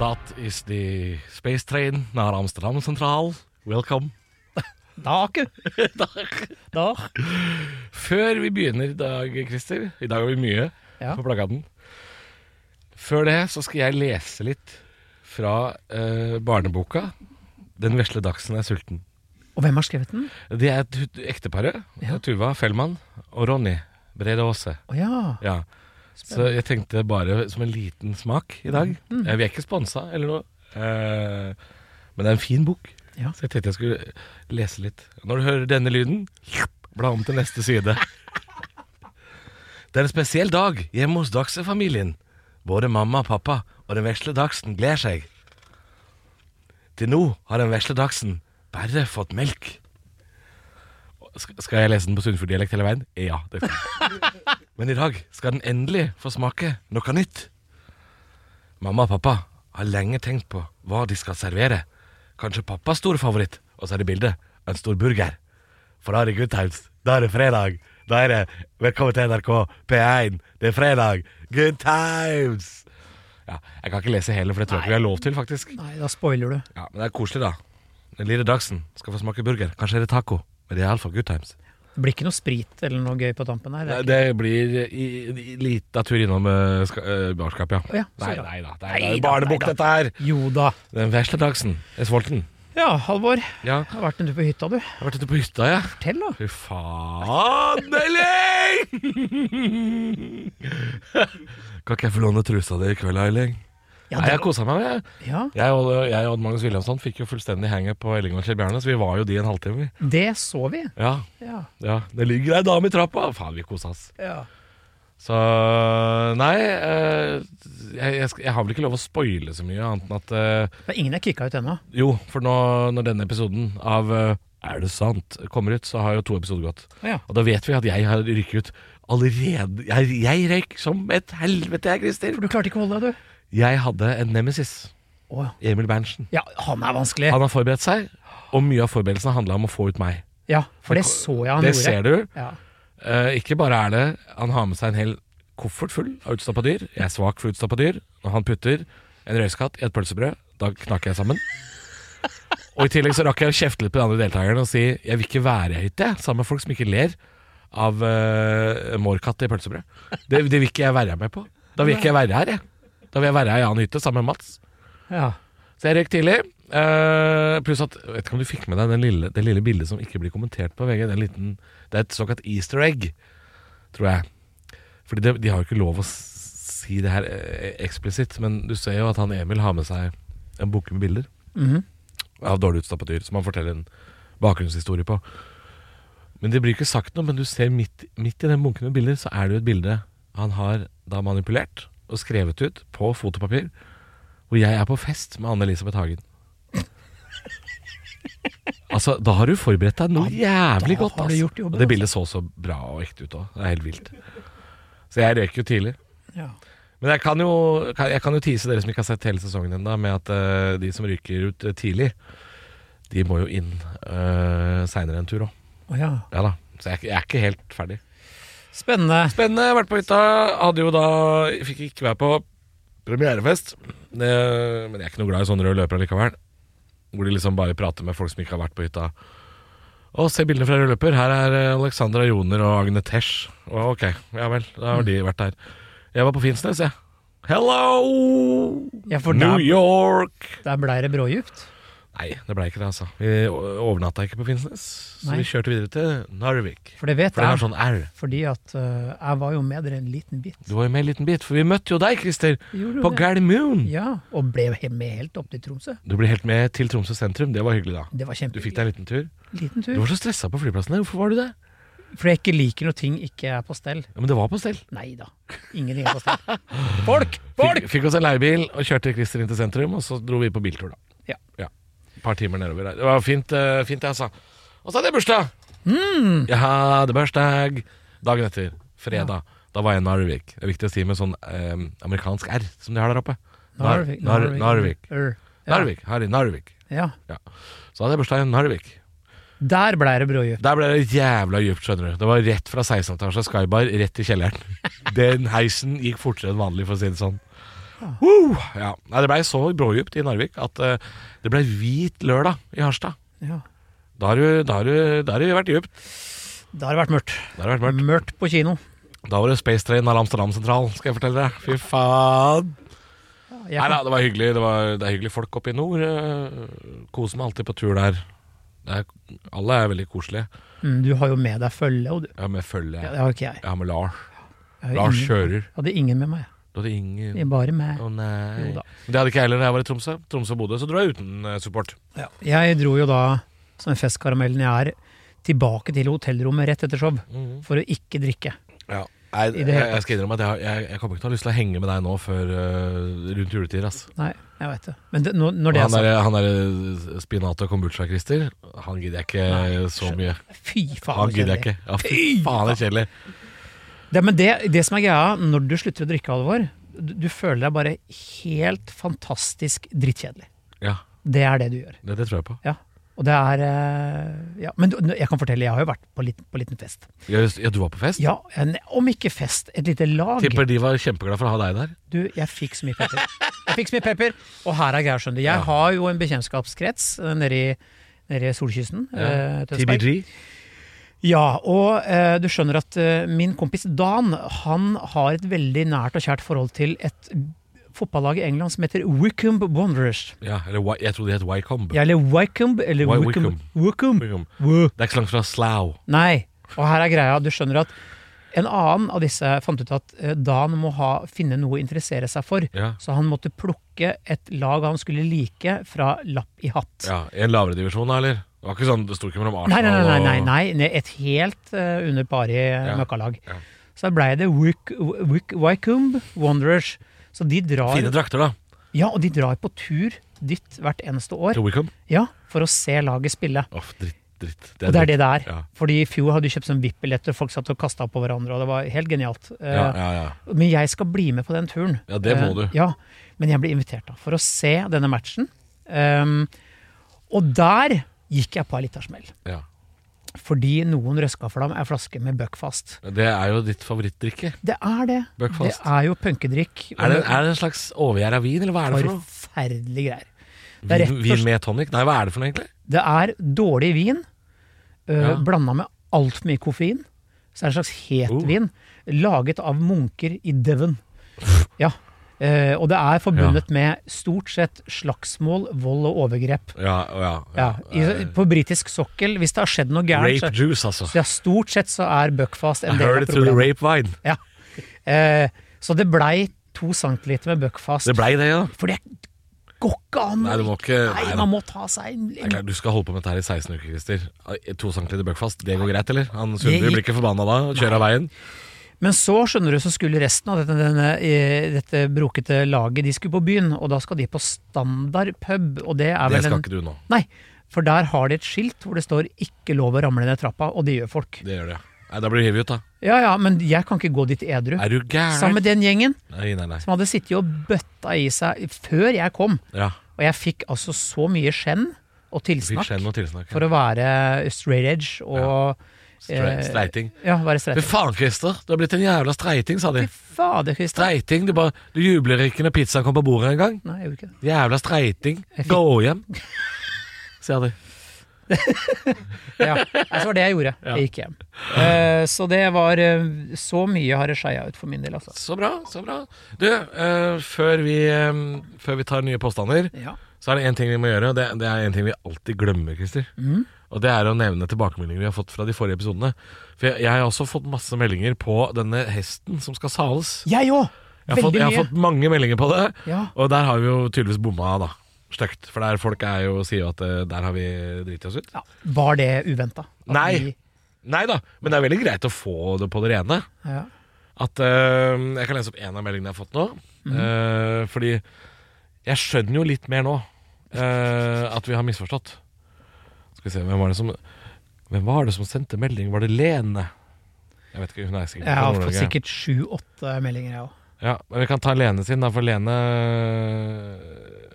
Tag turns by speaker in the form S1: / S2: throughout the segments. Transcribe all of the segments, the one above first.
S1: That is the space train nær Amsterdam sentral. Welcome.
S2: Dag. Dag.
S1: Før vi begynner i dag, Christer I dag har vi mye
S2: Ja.
S1: på plakaten. Før det så skal jeg lese litt fra eh, barneboka 'Den vesle dachsen er sulten'.
S2: Og hvem har skrevet den?
S1: Det er et hu- ekteparet.
S2: Ja.
S1: Tuva Fellmann og Ronny Brede Aase.
S2: Å ja.
S1: Ja. Så jeg tenkte bare som en liten smak i dag. Eh, Vi er ikke sponsa eller noe. eh, men det er en fin bok.
S2: Ja.
S1: Så jeg tenkte jeg skulle lese litt. Når du hører denne lyden, bla om til neste side. Det er en spesiell dag hjemme hos Dagse-familien. Både mamma og pappa og den vesle Dagsen gleder seg. Til nå har den vesle Dagsen bare fått melk. Sk- Skal jeg lese den på Sunnfjord-dialekt hele veien? Ja. det skal jeg. Men i dag skal den endelig få smake noe nytt. Mamma og pappa har lenge tenkt på hva de skal servere. Kanskje pappas store favoritt, og så er det bildet. En stor burger. For da er det Goodtimes. Da er det fredag. Da er det Velkommen til NRK P1. Det er fredag. Good times! Ja, jeg kan ikke lese hele, for det tror jeg ikke vi har lov til, faktisk.
S2: Nei, da spoiler du.
S1: Ja, Men det er koselig, da. Den lille Dagsen skal få smake burger. Kanskje er det taco. Men det er iallfall good times.
S2: Det blir ikke noe sprit eller noe gøy på tampen her.
S1: Nei,
S2: Det er
S1: det blir i, i, lita tur innom uh, ska, eh, barskap, ja.
S2: Å ja, så
S1: nei,
S2: bra.
S1: nei da. Det er, det er
S2: Nei
S1: jo
S2: da,
S1: barnebukk,
S2: nei da.
S1: dette her.
S2: ikke- Jo da.
S1: Den vesle dagsen. Jeg er sulten.
S2: Ja, Halvor. Jeg
S1: Ja,
S2: har vært en tur på hytta, du.
S1: jeg har vært ute på hytta, ja.
S2: Fortell, da.
S1: Fy faen, Eiling! kan ikke jeg få låne trusa di i kveld, Eiling?
S2: Ja,
S1: nei, jeg
S2: det,
S1: kosa meg. Jeg,
S2: ja,
S1: jeg, og, jeg og Magnus Williamson fikk jo fullstendig henge på Elling og Kjell Bjarne, så vi var jo de en halvtime. vi.
S2: det så vi.
S1: Ja,
S2: Ja.
S1: ja. Det ligger ei dame i trappa. Faen, vi kosa oss.
S2: ja.
S1: Så nei, eh, jeg, jeg, skal- jeg har vel ikke lov å spoile så mye, annet enn at eh,
S2: Men ingen er kicka ut ennå.
S1: Jo, for nå når denne episoden av eh, Er det sant? kommer ut, så har jo to episoder gått.
S2: Ja.
S1: Og da vet vi at jeg har rykket ut allerede. Jeg, jeg røyk som et helvete, jeg, Christer.
S2: For du klarte ikke å holde deg, du.
S1: Jeg hadde en nemesis.
S2: Å ja.
S1: Emil Berntsen.
S2: ja, han er vanskelig.
S1: Han har forberedt seg, og mye av forberedelsene handla om å få ut meg.
S2: Ja, for det så jeg han
S1: det
S2: gjorde.
S1: ser du.
S2: Ja.
S1: Eh, ikke bare er det Han har med seg en hel koffert full av utstappa dyr. Jeg er svak for utstappa dyr. Når han putter en røyskatt i et pølsebrød, da knakker jeg sammen. Og i tillegg så rakk jeg å kjefte litt på de andre deltakerne og si jeg vil ikke være i hytte, jeg, sammen med folk som ikke ler av uh, mårkatt i pølsebrød. Det, det vil ikke jeg være med på. Da vil ikke jeg være her, jeg. Da vil jeg være i en annen hytte sammen med Mats.
S2: ja.
S1: Så jeg røyk tidlig. eh, pluss at Vet ikke om du fikk med deg den lille, det lille bildet som ikke blir kommentert på VG. Den liten, det er et såkalt easter egg, tror jeg. Fordi det, de har jo ikke lov å s- si det her eh, eksplisitt, men du ser jo at han Emil har med seg en bunke med bilder
S2: Mhm.
S1: av dårlig utstappa dyr, som han forteller en bakgrunnshistorie på. Men det blir ikke sagt noe, men du ser midt, midt i den bunken med bilder, så er det jo et bilde han har da manipulert og skrevet ut på fotopapir, hvor jeg er på fest med Anne-Elisabeth Hagen. altså, da har du forberedt deg noe jævlig
S2: da
S1: godt.
S2: har du
S1: altså.
S2: gjort jobben,
S1: og det bildet så så bra og ekte ut òg. Det er helt vilt. Så jeg røyk jo tidlig.
S2: ja.
S1: Men jeg kan jo, kan, jeg kan jo tease dere som ikke har sett hele sesongen ennå, med at eh, de som ryker ut eh, tidlig, de må jo inn uh, seinere en tur òg.
S2: Å ja.
S1: Ja da. Så jeg, er ikke- jeg er ikke helt ferdig.
S2: Spennende.
S1: Spennende. Jeg har vært på hytta. Hadde jo da Fikk ikke være på premierefest. Det, men jeg er ikke noe glad i sånne røde løpere likevel. Hvor de liksom bare prater med folk som ikke har vært på hytta. Å, se bildene fra rød løper. Her er eh, Alexandra Joner og Agne Tesh. Å, ok, ja vel. Da har de vært der. Jeg var på Finnsnes, jeg. Hello!
S2: Ja, for
S1: New
S2: der,
S1: York!
S2: der blei det brådjupt.
S1: Nei, det ble ikke det, altså. Vi o- overnatta ikke på Finnsnes. Så
S2: Nei.
S1: vi kjørte videre til Narvik.
S2: For det vet
S1: For det har
S2: jeg.
S1: sånn R.
S2: Fordi at eh, jeg var jo med dere en liten bit.
S1: Du var jo med en liten bit, for vi møtte jo deg, Christer.
S2: Gjorde du
S1: På
S2: det?
S1: Gardermoen.
S2: Ja, og ble he- med helt opp til Tromsø.
S1: Du ble helt med til Tromsø sentrum. Det var hyggelig, da.
S2: Det var
S1: Du
S2: kjempe
S1: fikk deg en liten tur.
S2: liten
S1: Du
S2: tur.
S1: var så stressa på flyplassen. der. Hvorfor var du det?
S2: Fordi jeg ikke liker når ting ikke er på stell.
S1: Ja, men det var på stell.
S2: Nei da, ingenting er på stell. Folk! Folk!
S1: Fikk, fikk oss en leiebil og kjørte Christer inn til sentrum, og så dro vi på biltur, da.
S2: Ja.
S1: par timer nedover der. Det var fint, eh, fint det, altså. Og så hadde jeg bursdag!
S2: Mm.
S1: Jeg hadde bursdag dagen etter. Fredag. Da var jeg i Narvik. Det er viktig å si med sånn eh, amerikansk R som de har der oppe. Nar- Nar- Narvik.
S2: Ur. Ja.
S1: Narvik. Her i Narvik.
S2: Ja.
S1: Så hadde jeg bursdag i Narvik.
S2: Der ble det brødgjøp.
S1: Der ble det jævla dypt, skjønner du. Det var rett fra 16 etasje skybar rett til kjelleren. Den heisen gikk fortere enn vanlig, for å si det sånn. Woo! Ja. Nei, det blei så brådypt i Narvik at eh, det blei hvit lørdag i Harstad.
S2: Ja.
S1: Da har du- da har du da har det vært dypt.
S2: Da har det vært mørkt.
S1: Da har det vært mørkt.
S2: Mørkt på kino.
S1: Da var det Space Train av Amsterdam sentral, skal jeg fortelle deg. Fy faen.
S2: Jeg
S1: Nei da,
S2: kan,
S1: det var hyggelig. Det, var, det er hyggelige folk oppe i nord. eh, Koser meg alltid på tur der. Det er, alle er veldig koselige.
S2: Mm, du har jo med deg følge, og du.
S1: Jeg har med følge.
S2: Ja,
S1: Jeg
S2: det har ikke jeg.
S1: har med Lars.
S2: jeg har
S1: Lars
S2: ingen-
S1: kjører.
S2: Hadde ingen med meg.
S1: Da hadde ingen
S2: jeg. Bare
S1: Å
S2: meg. Jo
S1: nei.
S2: da.
S1: Det hadde ikke jeg heller da jeg var i Tromsø. Tromsø og Bodø, så dro jeg uten eh, support.
S2: Ja. Jeg dro jo da, som en festkaramellen jeg er, tilbake til hotellrommet rett etter show for å ikke drikke.
S1: Ja. Nei,
S2: Mhm. I det
S1: jeg,
S2: hele
S1: jeg skal innrømme at jeg, har- jeg, jeg kommer ikke til å ha lyst til å henge med deg nå før eh, rundt juletider. Ass.
S2: Nei, jeg veit det. Men det, når, når
S1: Og
S2: det er
S1: han
S2: sagt
S1: der, han der spinat- og kombucha-Christer, han gidder jeg ikke
S2: Nei,
S1: så mye.
S2: Fy faen.
S1: Han
S2: så
S1: gidder jeg
S2: kjedelig.
S1: ikke. Ja, fy faen, det er kjedelig.
S2: Det, men det, det som er greia, når du slutter å drikke, Alvor, du, du føler deg bare helt fantastisk drittkjedelig.
S1: Ja,
S2: Det er det du gjør.
S1: det, det tror jeg på.
S2: Ja. Og det er eh, ja. Men du- jeg kan fortelle, jeg har jo vært på liten, på liten fest.
S1: Jeg, ja, du var på fest?
S2: Ja, en, om ikke fest, et lite lag.
S1: Tipper de var kjempeglade for å ha deg der.
S2: Du, jeg fikk så mye pepper. Jeg fikk så mye pepper, og her er greia, skjønner du. Jeg har jo en bekjentskapskrets eh, nede i, nede i solkysten. eh, Tønsberg.
S1: TBG.
S2: Ja, og eh, du skjønner at eh, min kompis Dan han har et veldig nært og kjært forhold til et fotballag i England som heter Wickham Wanderers.
S1: Ja, eller Wy- jeg trodde det het Wycombe.
S2: Ja, eller Wycombe, eller
S1: Wy-
S2: Wickham. Wickham.
S1: Wycombe.
S2: Wy-
S1: Det er ikke så langt fra Slough.
S2: Nei. Og her er greia, du skjønner at en annen av disse fant ut at eh, Dan må ha, finne noe å interessere seg for.
S1: Ja.
S2: Så han måtte plukke et lag han skulle like fra Lapp i hatt.
S1: Ja, I en lavere divisjon, da, eller? Det var ikke sånn, det sto ikke mellom
S2: Nei,
S1: Arsenal
S2: nei, nei, nei,
S1: og
S2: nei, nei et helt eh, under pari
S1: Ja,
S2: møkkalag.
S1: ja.
S2: Så da blei det Wick- Wick- Wycombe Wanderers. Så de drar,
S1: Fine drakter, da.
S2: ja, og de drar på tur dit hvert eneste år
S1: Til Wickham.
S2: ja, for å se laget spille.
S1: Åh, dritt, dritt.
S2: Og det er det det er.
S1: Ja.
S2: Fordi i fjor hadde de kjøpt sånn VIP-billetter, folk satt og kasta på hverandre, og det var helt genialt. Eh,
S1: Ja, ja, ja.
S2: Men jeg skal bli med på den turen.
S1: Ja, det må
S2: Eh,
S1: du.
S2: Ja, Men jeg ble invitert da, for å se denne matchen. Um, og der gikk jeg på ei lita smell.
S1: ja.
S2: Fordi noen røska for dem ei flaske med Buckfast.
S1: Det er jo ditt favorittdrikke.
S2: Det er det.
S1: Buckfast.
S2: Det er jo punkedrikk. og
S1: Er det, er det en slags overgjær av vin, eller hva er det for noe?
S2: Forferdelige greier. Det
S1: Vin,
S2: er, rett og
S1: vin
S2: slett,
S1: med tonic? Nei, hva er det for noe, egentlig?
S2: det er dårlig vin
S1: Ja.
S2: blanda med altfor mye koffein. Så er det en slags
S1: Oh.
S2: hetvin laget av munker i Devon. Ja. Eh, og det er forbundet med stort sett slagsmål, vold og overgrep.
S1: Ja, å ja,
S2: Ja, i,
S1: Eh,
S2: på britisk sokkel, hvis det har skjedd noe gærent
S1: Rape
S2: så-
S1: juice, altså.
S2: så ja, Stort sett så er Buckfast
S1: I
S2: en del
S1: heard
S2: av
S1: it through the
S2: problemet.
S1: rape wine.
S2: Ja. Eh, så det blei to centiliter med Buckfast.
S1: Det blei det, ja.
S2: For det går ikke an!
S1: Nei, du må ikke
S2: Nei,
S1: nei, da.
S2: man må ta seg en
S1: Det er klart, Du skal holde på med dette her i 16 uker, Christer. To centimeter bøkfast, det går greit, eller? Han Sundby
S2: gikk-
S1: blir ikke forbanna da og kjører av veien?
S2: Men så skjønner du, så skulle resten av dette, denne, eh, dette brokete laget De skulle på byen, og da skal de på standardpub, og det er
S1: Det
S2: vel
S1: skal
S2: en
S1: ikke du nå.
S2: Nei, for der har de et skilt hvor det står 'ikke lov å ramle ned trappa', og det gjør folk.
S1: Det gjør det, ja. Nei, Da blir du hivet ut, da.
S2: Ja ja, men jeg kan ikke gå dit edru.
S1: Er du
S2: Sammen
S1: gæren?
S2: med den gjengen
S1: Nei, nei, nei.
S2: som hadde sittet og bøtta i seg før jeg kom,
S1: Ja.
S2: og jeg fikk altså så mye skjenn og
S1: Fikk
S2: tilsnakk
S1: skjenn og tilsnakk.
S2: for å være straight edge og
S1: Stre
S2: eh,
S1: streiting.
S2: Ja, være streit.
S1: Fy faen, Christer. Du har blitt en jævla streiting, sa de.
S2: Fy fader, Christian.
S1: Streiting. Du, bare, du jubler ikke når pizzaen kommer på bordet engang.
S2: Nei, jeg gjorde ikke det.
S1: Jævla streiting.
S2: Jeg fikk-
S1: Gå hjem, sier de.
S2: Ja, altså, det var det jeg gjorde. Jeg gikk hjem. Eh, så det var eh, Så mye har det skeia ut for min del, altså.
S1: Så bra, så bra. Du, eh, før, vi, eh, før vi tar nye påstander,
S2: Ja.
S1: så er det én ting vi må gjøre. og Det, det er en ting vi alltid glemmer, Christer. Og det er å nevne tilbakemeldinger vi har fått fra de forrige episodene. For jeg, jeg har også fått masse meldinger på denne hesten som skal sales.
S2: Jeg òg!
S1: Jeg har, fått,
S2: Veldig
S1: jeg har
S2: mye.
S1: fått mange meldinger på det,
S2: Ja.
S1: og der har vi jo tydeligvis bomma, da. Stygt. For der folk er jo, sier jo at eh, der har vi driti oss ut.
S2: Ja, var det uventa?
S1: Nei. Nei da, men det er veldig greit å få det på det rene.
S2: Ja.
S1: At eh, Jeg
S2: Mhm.
S1: kan lese opp én av meldingene jeg har fått nå. Eh, fordi jeg skjønner jo litt mer nå eh, at vi har misforstått. Skal vi se, hvem var det som Hvem var det som sendte melding? Var det Lene? Jeg vet ikke, hun er sikkert
S2: Jeg
S1: fra
S2: har fått
S1: Nord-Norge.
S2: sikkert sju-åtte meldinger, jeg òg.
S1: Ja, men vi kan ta Lene sin, da, for Lene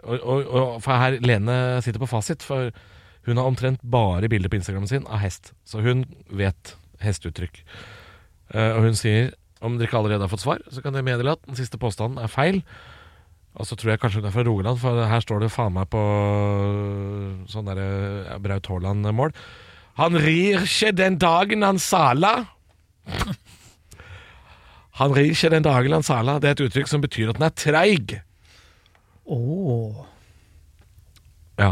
S1: og, og, og, For her Lene sitter på fasit, for hun har omtrent bare bilder på Instagramen sin av hest. Så hun vet hesteuttrykk. Eh, og hun sier om dere ikke allerede har fått svar, så kan dere meddele at den siste påstanden er feil. Og så tror jeg kanskje hun er fra Rogaland, for her står det faen meg på sånn derre Braut Haaland-mål. Han rir ikke den dagen han sala. Han rir ikke den dagen han sala. Det er et uttrykk som betyr at den er treig.
S2: Åh
S1: Ja.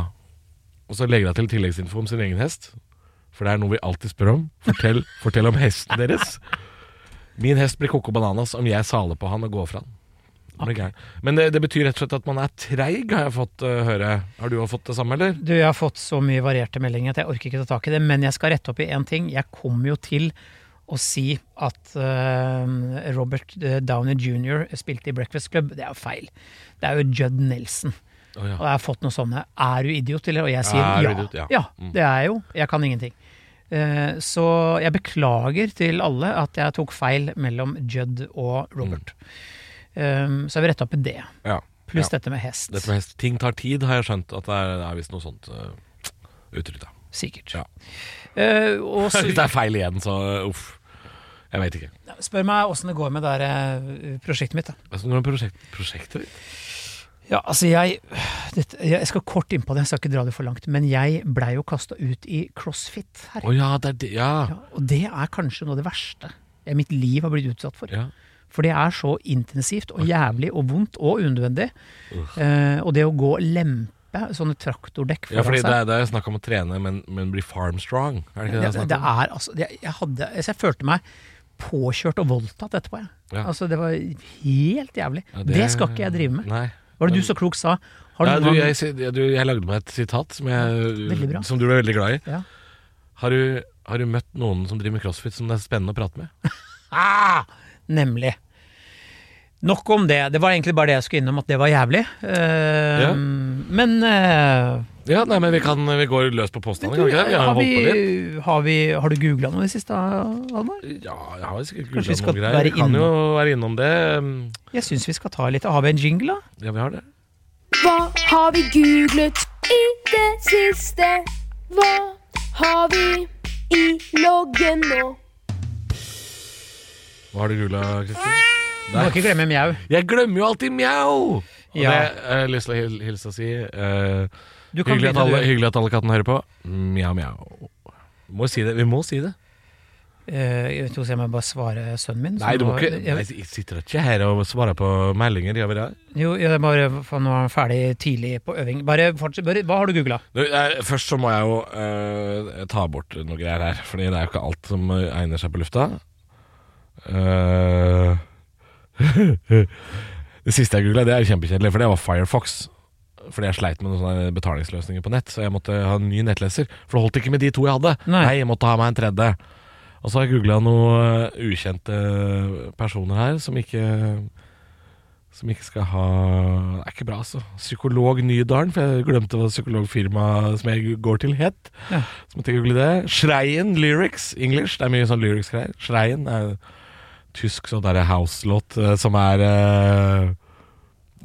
S1: Og så legger jeg til tilleggsinfo om sin egen hest. For det er noe vi alltid spør om. Fortell, fortell om hesten deres. Min hest blir Coco Bananas om jeg saler på han og går fra han. Han blir gæren. Men det, det betyr rett og slett at man er treig, har jeg fått eh, høre. Har du òg fått det samme, eller?
S2: Du, jeg har fått så mye varierte meldinger at jeg orker ikke ta tak i det, men jeg skal rette opp i én ting. Jeg kom jo til å si at eh, Robert eh, Downey jr. spilte i Breakfast Club. Det er jo feil. Det er jo Judd Nelson.
S1: Å ja.
S2: Og jeg har fått noen sånne 'er du idiot', eller? Og jeg sier
S1: Er du
S2: ja.
S1: idiot? Ja. Mm.
S2: det er jeg jo. Jeg kan ingenting. Eh, så jeg beklager til alle at jeg tok feil mellom Judd og Robert. Eh, så jeg vil rette opp i det.
S1: ja.
S2: Pluss
S1: Mm. ja.
S2: dette med hest.
S1: Dette med hest. Ting tar tid, har jeg skjønt. At det er, det er visst noe sånt eh, uttrykk, da.
S2: Sikkert.
S1: Ja.
S2: Eh, og så
S1: Hvis det er feil igjen, så eh, uff. Jeg veit ikke.
S2: Spør meg åssen det går med det der, eh, prosjektet mitt. Da.
S1: Altså, når er prosjekt, prosjektet ditt?
S2: Ja, altså jeg, dette, jeg skal kort innpå det, jeg skal ikke dra det for langt. Men jeg blei jo kasta ut i crossfit her.
S1: Å ja, det er det ja.
S2: Ja, og det er kanskje noe av det verste jeg mitt liv har blitt utsatt for.
S1: ja.
S2: For det er så intensivt og jævlig og vondt og unødvendig. Eh, og det å gå og lempe sånne traktordekk
S1: Ja,
S2: foran
S1: fordi
S2: seg
S1: det er, det er snakk om å trene, men, men bli farm strong. Er det ikke det,
S2: Det,
S1: det er snakk
S2: det
S1: om?
S2: er altså det, jeg, hadde, altså, jeg følte meg påkjørt og voldtatt etterpå, jeg.
S1: Ja.
S2: Altså, det var helt jævlig.
S1: Ja,
S2: det, skal ikke jeg drive med.
S1: Nei.
S2: Var det du så klokt sa? Har
S1: Ja, du,
S2: du noen gang-
S1: jeg, si- ja, du, jeg lagde meg et sitat som,
S2: Veldig bra.
S1: jeg, som du ble veldig glad i.
S2: Ja.
S1: Har, du, har du møtt noen som driver med crossfit som det er spennende å prate med?
S2: Ah, nemlig. Nok om det. Det var egentlig bare det jeg skulle innom, at det var jævlig. Eh,
S1: Ja.
S2: Men eh,
S1: Ja, nei, men vi, kan, vi går løs på påstander, kan vi ikke det? Vi har
S2: har,
S1: holdt på litt.
S2: vi, har, vi, har du googla noe i det siste, Halvor?
S1: Ja, jeg har sikkert
S2: Kanskje
S1: googlet
S2: vi skal
S1: noen greier. Vi
S2: være
S1: kan
S2: innom-
S1: jo være innom det. um,
S2: Jeg syns vi skal ta litt. Har vi en jingle, da?
S1: Ja, vi har det.
S3: Hva har vi googlet i det siste? Hva har vi i loggen nå?
S1: Hva har du googla, Kristin?
S2: Du må ikke glemme mjau.
S1: Jeg glemmer jo alltid mjau! Og
S2: Ja.
S1: det har jeg lyst til å hil- hilse og si. eh,
S2: Du kan
S1: hyggelig, at
S2: begynne,
S1: alle,
S2: du.
S1: hyggelig at alle kattene hører på. Mjau, mjau. Må si det. Vi må si det.
S2: Eh, jeg vet ikke, jeg må bare svare sønnen min. som
S1: Nei, du må
S2: var-
S1: ikke Nei,
S2: jeg,
S1: Jeg sitter ikke her og svarer på meldinger, gjør vi det?
S2: Jo, jeg bare, for nå er han ferdig tidlig på øving. Bare fortsett. Bare, hva har du googla?
S1: Du, eh, først så må jeg jo eh, ta bort noe greier her, Fordi det er jo ikke alt som eh, egner seg på lufta. Eh, det siste jeg googla, det er kjempekjedelig, for det var Firefox. Fordi jeg sleit med noen sånne betalingsløsninger på nett, så jeg måtte ha en ny nettleser. For det holdt ikke med de to jeg hadde.
S2: Nei.
S1: jeg måtte ha meg en tredje. Og så har jeg googla noen eh, ukjente personer her som ikke som ikke skal ha Det er ikke bra, altså. Psykolog Nydalen, for jeg glemte hva psykologfirmaet som jeg går til, het.
S2: Ja.
S1: Så måtte jeg google det. Schreien Lyrics English. Det er mye sånn lyrics-greier. Schreien er tysk sånn derre house-låt eh, som er eh,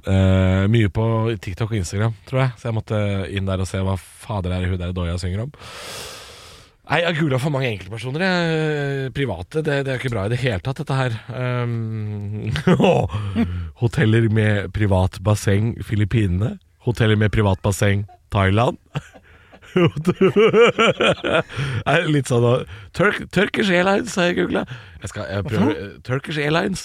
S1: eh, mye på TikTok og Instagram, tror jeg. Så jeg måtte inn der og se hva fader er det hun der Doya synger om. Nei, Jeg har googla for mange enkeltpersoner. Jeg. Private. Det, det er ikke bra i det hele tatt, dette her. Um, hoteller med privat basseng Filippinene. Hoteller med privat basseng Thailand. Nei, litt sånn da. Turk, Turkish Airlines har jeg googla. Jeg skal, jeg prøver, Turkish Airlines.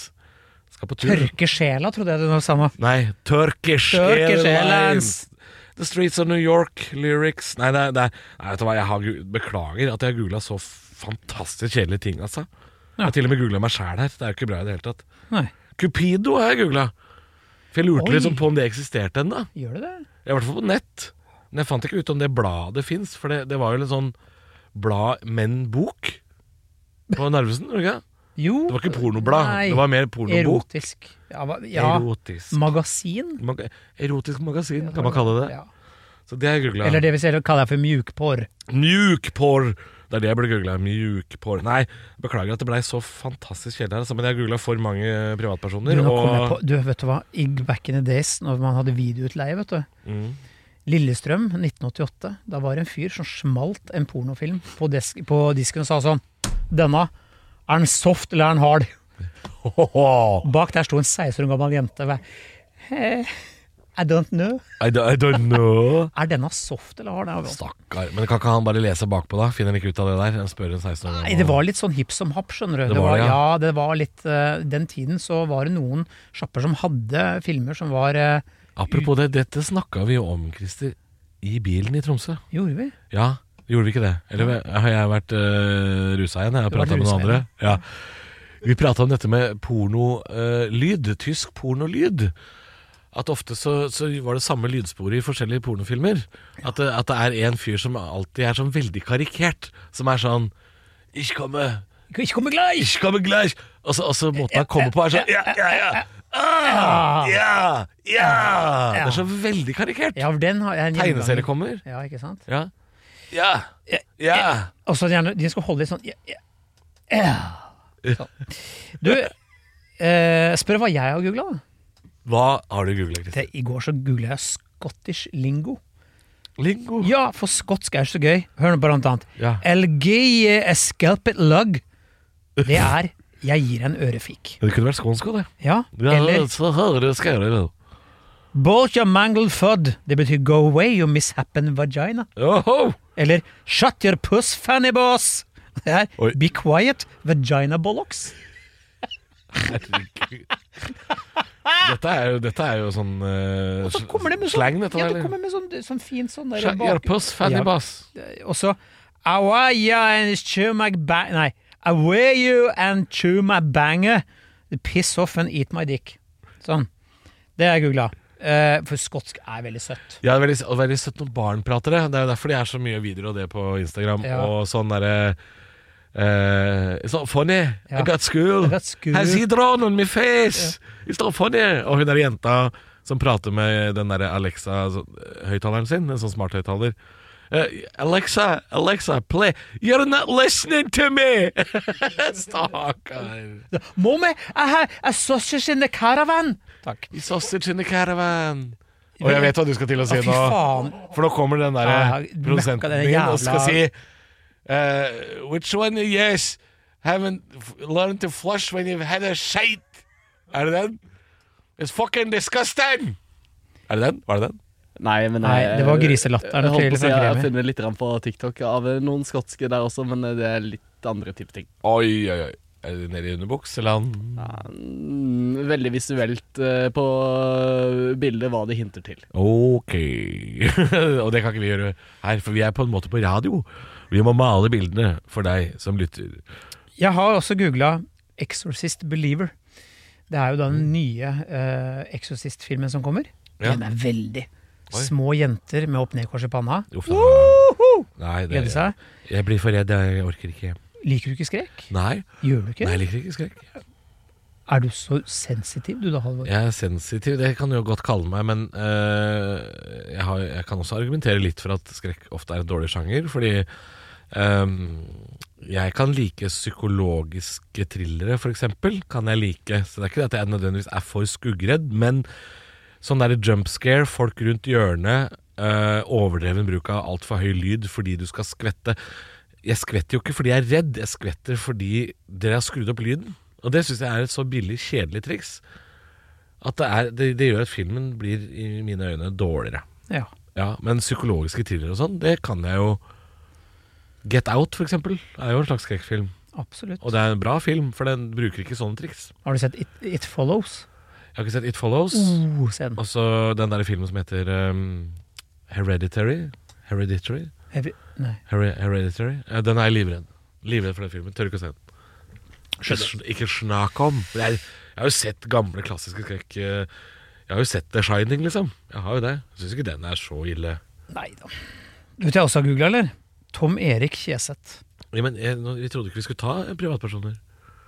S1: Skal på tur.
S2: Tørke sjela, trodde jeg du sa nå.
S1: Nei, Turkish,
S2: Turkish
S1: Airlines.
S2: Airlines.
S1: The Streets of New York, lyrics Nei, det er- det er- nei vet du hva, jeg har, gu- beklager at jeg har googla så fantastisk kjedelige ting, altså. Jeg har til og med googla meg sjæl her. Det er jo ikke bra i det hele tatt.
S2: Nei.
S1: Cupido har jeg googla. For jeg lurte
S2: Oi.
S1: liksom på om det eksisterte ennå.
S2: Gjør du det?
S1: I hvert fall på nett. Men jeg fant ikke ut om det bladet fins, for det, det var jo en sånn blad menn bok på Narvesen. var Det ikke?
S2: Jo.
S1: Det var ikke pornoblad,
S2: Nei.
S1: det var mer pornobok.
S2: Erotisk. Ja, hva- ja.
S1: Erotisk.
S2: Magasin.
S1: Maga erotisk magasin, kan man kalle det.
S2: Ja.
S1: Så det har jeg googla.
S2: Eller det vi selv kaller for mjukporr.
S1: Mjukporr! Det er det jeg burde googla. Mjukporr. Nei, beklager at det blei så fantastisk kjedelig her, altså, men jeg har googla for mange
S2: Du,
S1: privatpersoner.
S2: nå kom jeg
S1: og
S2: på, du, vet du hva, i back in the days, når man hadde videoutleie, vet du.
S1: mm,
S2: Lillestrøm 1988. Da var det en fyr som smalt en pornofilm på, desk, på disken og sa sånn Denne, er den soft eller er den hard? Bak der sto en 16 år gammel jente. Hva- Eh, I don't know.
S1: I, do- I don't know.
S2: Er denne soft eller hard? Det har vi også-
S1: Stakkar. Men kan ikke han bare lese bakpå, da? Finner han ikke ut av det der? Han spør en 16 år
S2: Nei, det var litt sånn hipp som happ, skjønner du.
S1: Det var det,
S2: ja.
S1: ja.
S2: det var litt eh, Den tiden så var det noen sjapper som hadde filmer som var eh,
S1: Apropos det, dette snakka vi jo om, Christer, i bilen i Tromsø.
S2: Gjorde vi?
S1: Ja, gjorde vi ikke det? Eller eh, har jeg vært uh, rusa igjen? Jeg har
S2: Du har
S1: prata med
S2: vært
S1: noen andre.
S2: rusa
S1: Ja. Vi prata om dette med pornolyd. tysk pornolyd. At ofte så, så var det samme lydsporet i forskjellige pornofilmer. At, det, at det er en fyr som alltid er sånn veldig karikert. Som er sånn Ich komme,
S2: Ikke komme glad!
S1: ich komme gleich. Og så, og så måten han kommer på er sånn Ja, ja, ja. Ah, ja, ja. Det er så veldig karikert.
S2: Ja, den har jeg en gjenganger.
S1: Tegneserie kommer.
S2: Ja, ikke sant?
S1: Ja. Ja. ja.
S2: Og så gjerne, de skal holde litt sånn ja, ja, ja. Sånn. Du, eh, spør hva jeg har googla.
S1: Hva har du googla, Kristin?
S2: I går så googla jeg Scottish lingo.
S1: Lingo.
S2: Ja, for skotsk er så gøy. Hør nå på blant annet.
S1: Ja.
S2: LG escalpet lug. Det er 'jeg gir deg en ørefik'.
S1: Det kunne vært skånsk òg, det.
S2: Ja,
S1: Ja,
S2: Eller
S1: så hører du skal gjøre det.
S2: «Bolt your mangled fud'. Det betyr 'go away you mishappen vagina'.
S1: Oho!
S2: Eller 'shut your puss fanny boss'. Det er
S1: Oi.
S2: 'be quiet vagina bollocks'.
S1: Herregud. Dette er jo, dette er jo sånn uh,
S2: Så kommer det med sånn,
S1: slang, dette
S2: ja,
S1: der.
S2: det kommer med sånn, sånn fin sånn der
S1: Sja-
S2: bak-
S1: Jarpus, Fanny
S2: Ja.
S1: Bass.
S2: Og så Awa, ja, and chew my ba- Nei. Away you and chew my banger. Piss off and eat my dick. Sånn. Det har jeg googla. Eh, for skotsk er veldig søtt.
S1: Ja, det er veldig, og veldig søtt når barn prater det. Det er jo derfor det er så mye videoer av det på Instagram.
S2: Ja.
S1: Og sånn derre eh, It's not funny.
S2: Ja.
S1: I got school.
S2: I got school.
S1: Has he drawn on my face? It's not funny. Og hun der jenta som prater med den derre Alexa-høyttaleren sin, en sånn smarthøyttaler. Eh, Alexa, Alexa, play You're not listening to me! Stakkar.
S2: Mommy, I have a sausage in the caravan! Takk.
S1: Sausage in the caravan. Og jeg vet hva du skal til å
S2: Å,
S1: si
S2: fy
S1: nå.
S2: faen.
S1: For nå kommer den der eh,
S2: Ja, ja, møkka,
S1: produsenten
S2: Ah, den
S1: din og
S2: jævla-
S1: skal si eh, Which one yes haven't f- learned to flush when you've had a shite? Er det den? It's fucking disgusting! Er det den? Var det den?
S4: Nei, men
S2: Nei,
S4: jeg-
S2: det var griselatteren
S4: Jeg, holdt
S2: til
S4: på å si, jeg har
S2: Gremi.
S4: funnet litt grann på TikTok av eh, noen skotske der også, men eh, det er litt andre type ting.
S1: Oi, oi, oi. Er det nede i underbukseland?
S4: Ja, mm, veldig visuelt eh, på eh, bildet hva det hinter til.
S1: Ok. og det kan ikke vi gjøre her, for vi er på en måte på radio. Vi må male bildene for deg som lytter.
S2: Jeg har også googla 'Exorcist Believer'. Det er jo da den nye eh, Exorcist-filmen som kommer.
S1: Mm. Ja.
S2: Den er veldig
S1: Oi.
S2: Små jenter med opp-ned-kors i panna.
S1: Uff da. Nei, det,
S2: Glede seg.
S1: jeg blir for redd. Jeg orker ikke.
S2: Liker du ikke skrekk?
S1: Nei,
S2: Gjør du ikke?
S1: Nei jeg liker ikke skrekk.
S2: Er du så sensitiv du da, Halvor?
S1: Jeg er sensitiv, det kan du jo godt kalle meg, men øh, jeg, har, jeg kan også argumentere litt for at skrekk ofte er en dårlig sjanger, fordi øhm, jeg kan like psykologiske thrillere, for eksempel, kan jeg like. Så det er ikke det at jeg nødvendigvis er for skuggredd, men sånn derre jump scare, folk rundt hjørnet, øh, overdreven bruk av altfor høy lyd fordi du skal skvette. Jeg skvetter jo ikke fordi jeg er redd, jeg skvetter fordi dere har skrudd opp lyden. Og det syns jeg er et så billig, kjedelig triks. At det, er, det, det gjør at filmen blir i mine øyne dårligere.
S2: Ja.
S1: Ja, Men psykologiske thrillere og sånn, det kan jeg jo Get Out, for eksempel, er jo en slags skrekkfilm.
S2: Absolutt.
S1: Og det er en bra film, for den bruker ikke sånne triks.
S2: Har du sett It, It Follows?
S1: Jeg har ikke sett It Follows.
S2: Oh, se den.
S1: Og så den der filmen som heter um, Hereditary. Hereditary?
S2: Jeg vil- Nei.
S1: Here, Hereditary? Eh, Den er jeg livredd. Livredd for den filmen. Tør ikke å se den. Ikke sn- Ikke snakk om. For Jeg, jeg har jo sett gamle, klassiske skrekk eh, Jeg har jo sett The Shining, liksom. Jeg har jo det. Jeg syns ikke den er så ille.
S2: Nei da. Du vet jeg også har googla, eller? Tom Erik Kjeseth.
S1: Ja, men jeg, nå- Vi trodde ikke vi skulle ta eh, privatpersoner.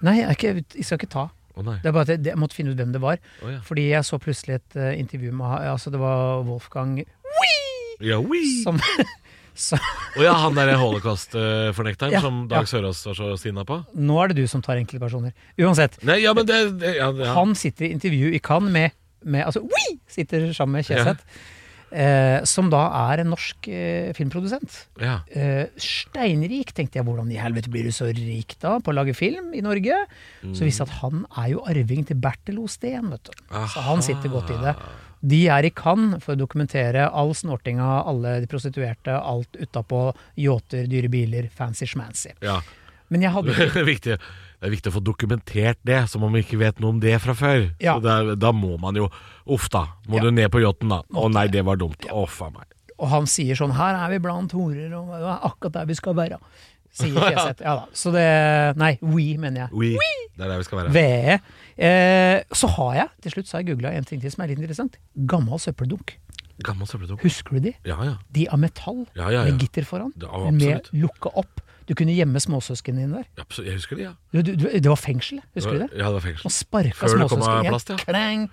S2: Nei, jeg, er ikke, jeg skal ikke ta.
S1: Å nei.
S2: Det er bare at jeg, jeg måtte finne ut hvem det var.
S1: Å ja.
S2: Fordi jeg så plutselig et eh, intervju med ha- Altså, det var Wolfgang Wee!
S1: Ja, oui.
S2: Som,
S1: Og ja, han der eh, holocaust-fornekteren
S2: Ja,
S1: som
S2: ja.
S1: Dag Sørås var så sinna på?
S2: nå er det du som tar enkeltpersoner. Uansett,
S1: Nei, ja, men det, det ja, ja.
S2: han sitter i intervju i Cannes med, med altså, Oi! Sitter sammen med Kjeseth, eh, som da er en norsk eh, filmprodusent.
S1: ja.
S2: Eh, steinrik, tenkte jeg. Hvordan i helvete blir du så rik da på å lage film i Norge? Så visste jeg at han er jo arving til Bertil Osten, vet du. Så han sitter godt i det. De er i Cannes for å dokumentere all snortinga, alle de prostituerte, alt utapå. Yachter, dyre biler, fancy schmancy.
S1: ja.
S2: Men jeg hadde
S1: Det, er viktig, det er viktig å få dokumentert det, som om vi ikke vet noe om det fra før.
S2: Ja.
S1: Så det er- da må man jo Uff, da. Må
S2: Ja.
S1: du ned på yachten, da. Å nei, det var dumt. Å, faen meg.
S2: Og han sier sånn Her er vi blant horer, og det er akkurat der vi skal være. Sier Kjeseth. Ja da. Så det Nei, we, mener jeg.
S1: Oui. Det er der vi skal være.
S2: VE. E. Eh, så har jeg, til slutt så har jeg googla en ting til som er litt interessant. Gammel søppeldunk.
S1: Gammel søppeldunk.
S2: Husker du de?
S1: Ja, ja.
S2: De av metall,
S1: Ja, ja, ja.
S2: med gitter foran.
S1: Ja, absolutt.
S2: med lukke opp. Du kunne gjemme småsøsknene dine der.
S1: Ja, absolutt. Jeg husker det, ja.
S2: Du, du, du, det var fengsel, husker du det?
S1: Ja, det var
S2: Man
S1: fengsel.
S2: sparka
S1: Før det kom
S2: småsøsknene
S1: plast, ja.
S2: igjen. Klang!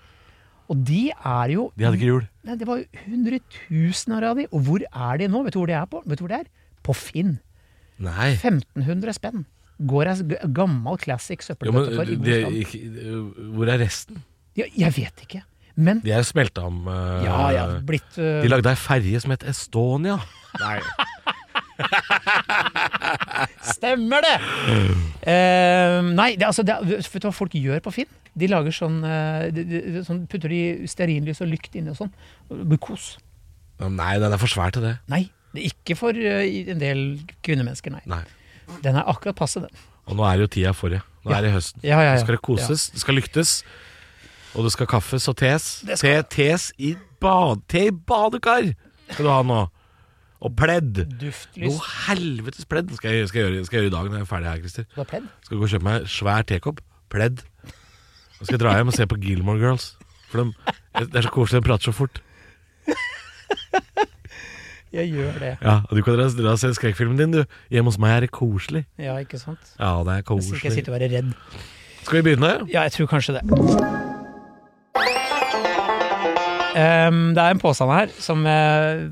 S2: Og de er jo
S1: De hadde ikke hjul.
S2: Nei, Det var jo hundretusener av de. Og hvor er de nå? Vet du hvor de er på? Vet du hvor de er? På Finn.
S1: Nei.
S2: 1500 spenn. Går ei g- gammel classic
S1: Jo, men,
S2: søppeldøttekar i god
S1: det,
S2: stand.
S1: ikke, øh, hvor er resten?
S2: Ja, jeg vet ikke. Men
S1: De er jo smelta om eh,
S2: Ja, ja, blitt øh,
S1: De lagde ei ferje som het Estonia. Nei.
S2: Stemmer det! Eh, nei, det, altså, det, er- vet du hva folk gjør på Finn? De lager sånn, eh, de, de, de- sånn Putter de stearinlys og lykt inni og sånn. Det blir kos.
S1: Nei, den er for svær til det.
S2: Nei, det er ikke for eh, en del kvinnemennesker, nei.
S1: Nei.
S2: Den er akkurat passe, den.
S1: Og nå er det jo tida for det. Nå
S2: Ja.
S1: er det høsten.
S2: Ja, ja, ja.
S1: Nå skal det koses, det skal lyktes. Og det skal kaffes og tes. Te, tes i bad, te i badekar skal du ha nå. Og pledd.
S2: Duftlys.
S1: Noe helvetes pledd skal jeg, skal, jeg gjøre, skal jeg gjøre i dag når jeg er ferdig her, Christer.
S2: Du har pledd?
S1: Skal gå og kjøpe meg en svær tekopp. Pledd. Så skal jeg dra hjem og se på Gilmore Girls. For de, det er så koselig, de prater så fort.
S2: Jeg gjør det.
S1: Ja, og Du kan dra, dra og se skrekkfilmen din, du. Hjemme hos meg er det koselig.
S2: Ja, ikke sant?
S1: Ja, det er
S2: Hvis ikke jeg
S1: koselig.
S2: sitter og er redd.
S1: Skal vi begynne?
S2: Ja, jeg tror kanskje det. Ehm, det er en påstand her som eh,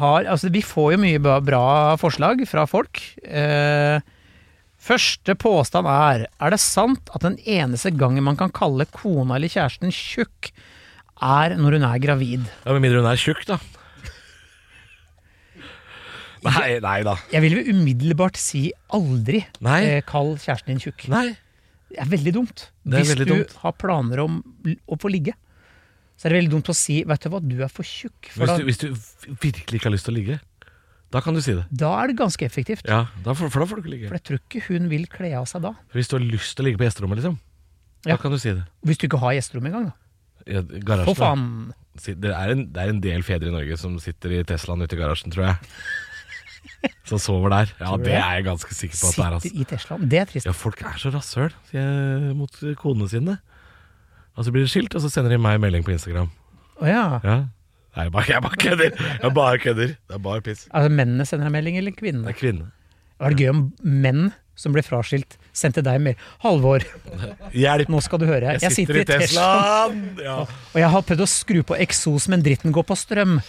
S2: har Altså, vi får jo mye bra, bra forslag fra folk. Eh, første påstand er Er det sant at den eneste gangen man kan kalle kona eller kjæresten tjukk, er når hun er gravid?
S1: Ja, Med mindre hun er tjukk, da. Nei, nei da.
S2: Jeg vil vel umiddelbart si aldri
S1: Nei.
S2: eh, kall kjæresten din tjukk.
S1: Nei.
S2: Det er veldig dumt.
S1: Det er
S2: Hvis
S1: veldig
S2: du
S1: dumt.
S2: har planer om å få ligge, så er det veldig dumt å si 'vet du hva, du er for tjukk'.
S1: Hvis
S2: For da,
S1: du, hvis du v- virkelig ikke har lyst til å ligge, da kan du si det.
S2: da er det ganske effektivt.
S1: Ja, da får, For da får du ikke ligge.
S2: For jeg tror ikke hun vil kle av seg da.
S1: Hvis du har lyst til å ligge på gjesterommet, liksom, da
S2: Ja.
S1: kan du si det.
S2: Hvis du ikke har gjesterom engang, da.
S1: Ja,
S2: Å
S1: garasjen. da.
S2: faen.
S1: Si- Det er, en, det er en del fedre i Norge som sitter i Teslaen ute i garasjen, tror jeg. Som sover der. Ja,
S2: du
S1: det
S2: det?
S1: er jeg ganske sikker på at det er.
S2: Sitter
S1: Altså.
S2: i Teslaen. Det er trist.
S1: Ja, folk er så rasshøl sier jeg, mot konene sine. Og så blir de skilt, og så sender de meg melding på Instagram.
S2: Å ja.
S1: Ja. Nei, jeg bare, jeg bare kødder. Jeg bare kødder. Det er bare piss.
S2: Altså, mennene sender deg melding, eller
S1: Det
S2: kvinnene?
S1: er kvinne.
S2: Det var det gøy om menn som ble fraskilt, sendte deg mer. 'Halvor,
S1: Hjelp!
S2: nå skal du høre. Jeg, sitter, i Teslaen,
S1: Ja.
S2: og jeg har prøvd å skru på eksos, men dritten går på strøm.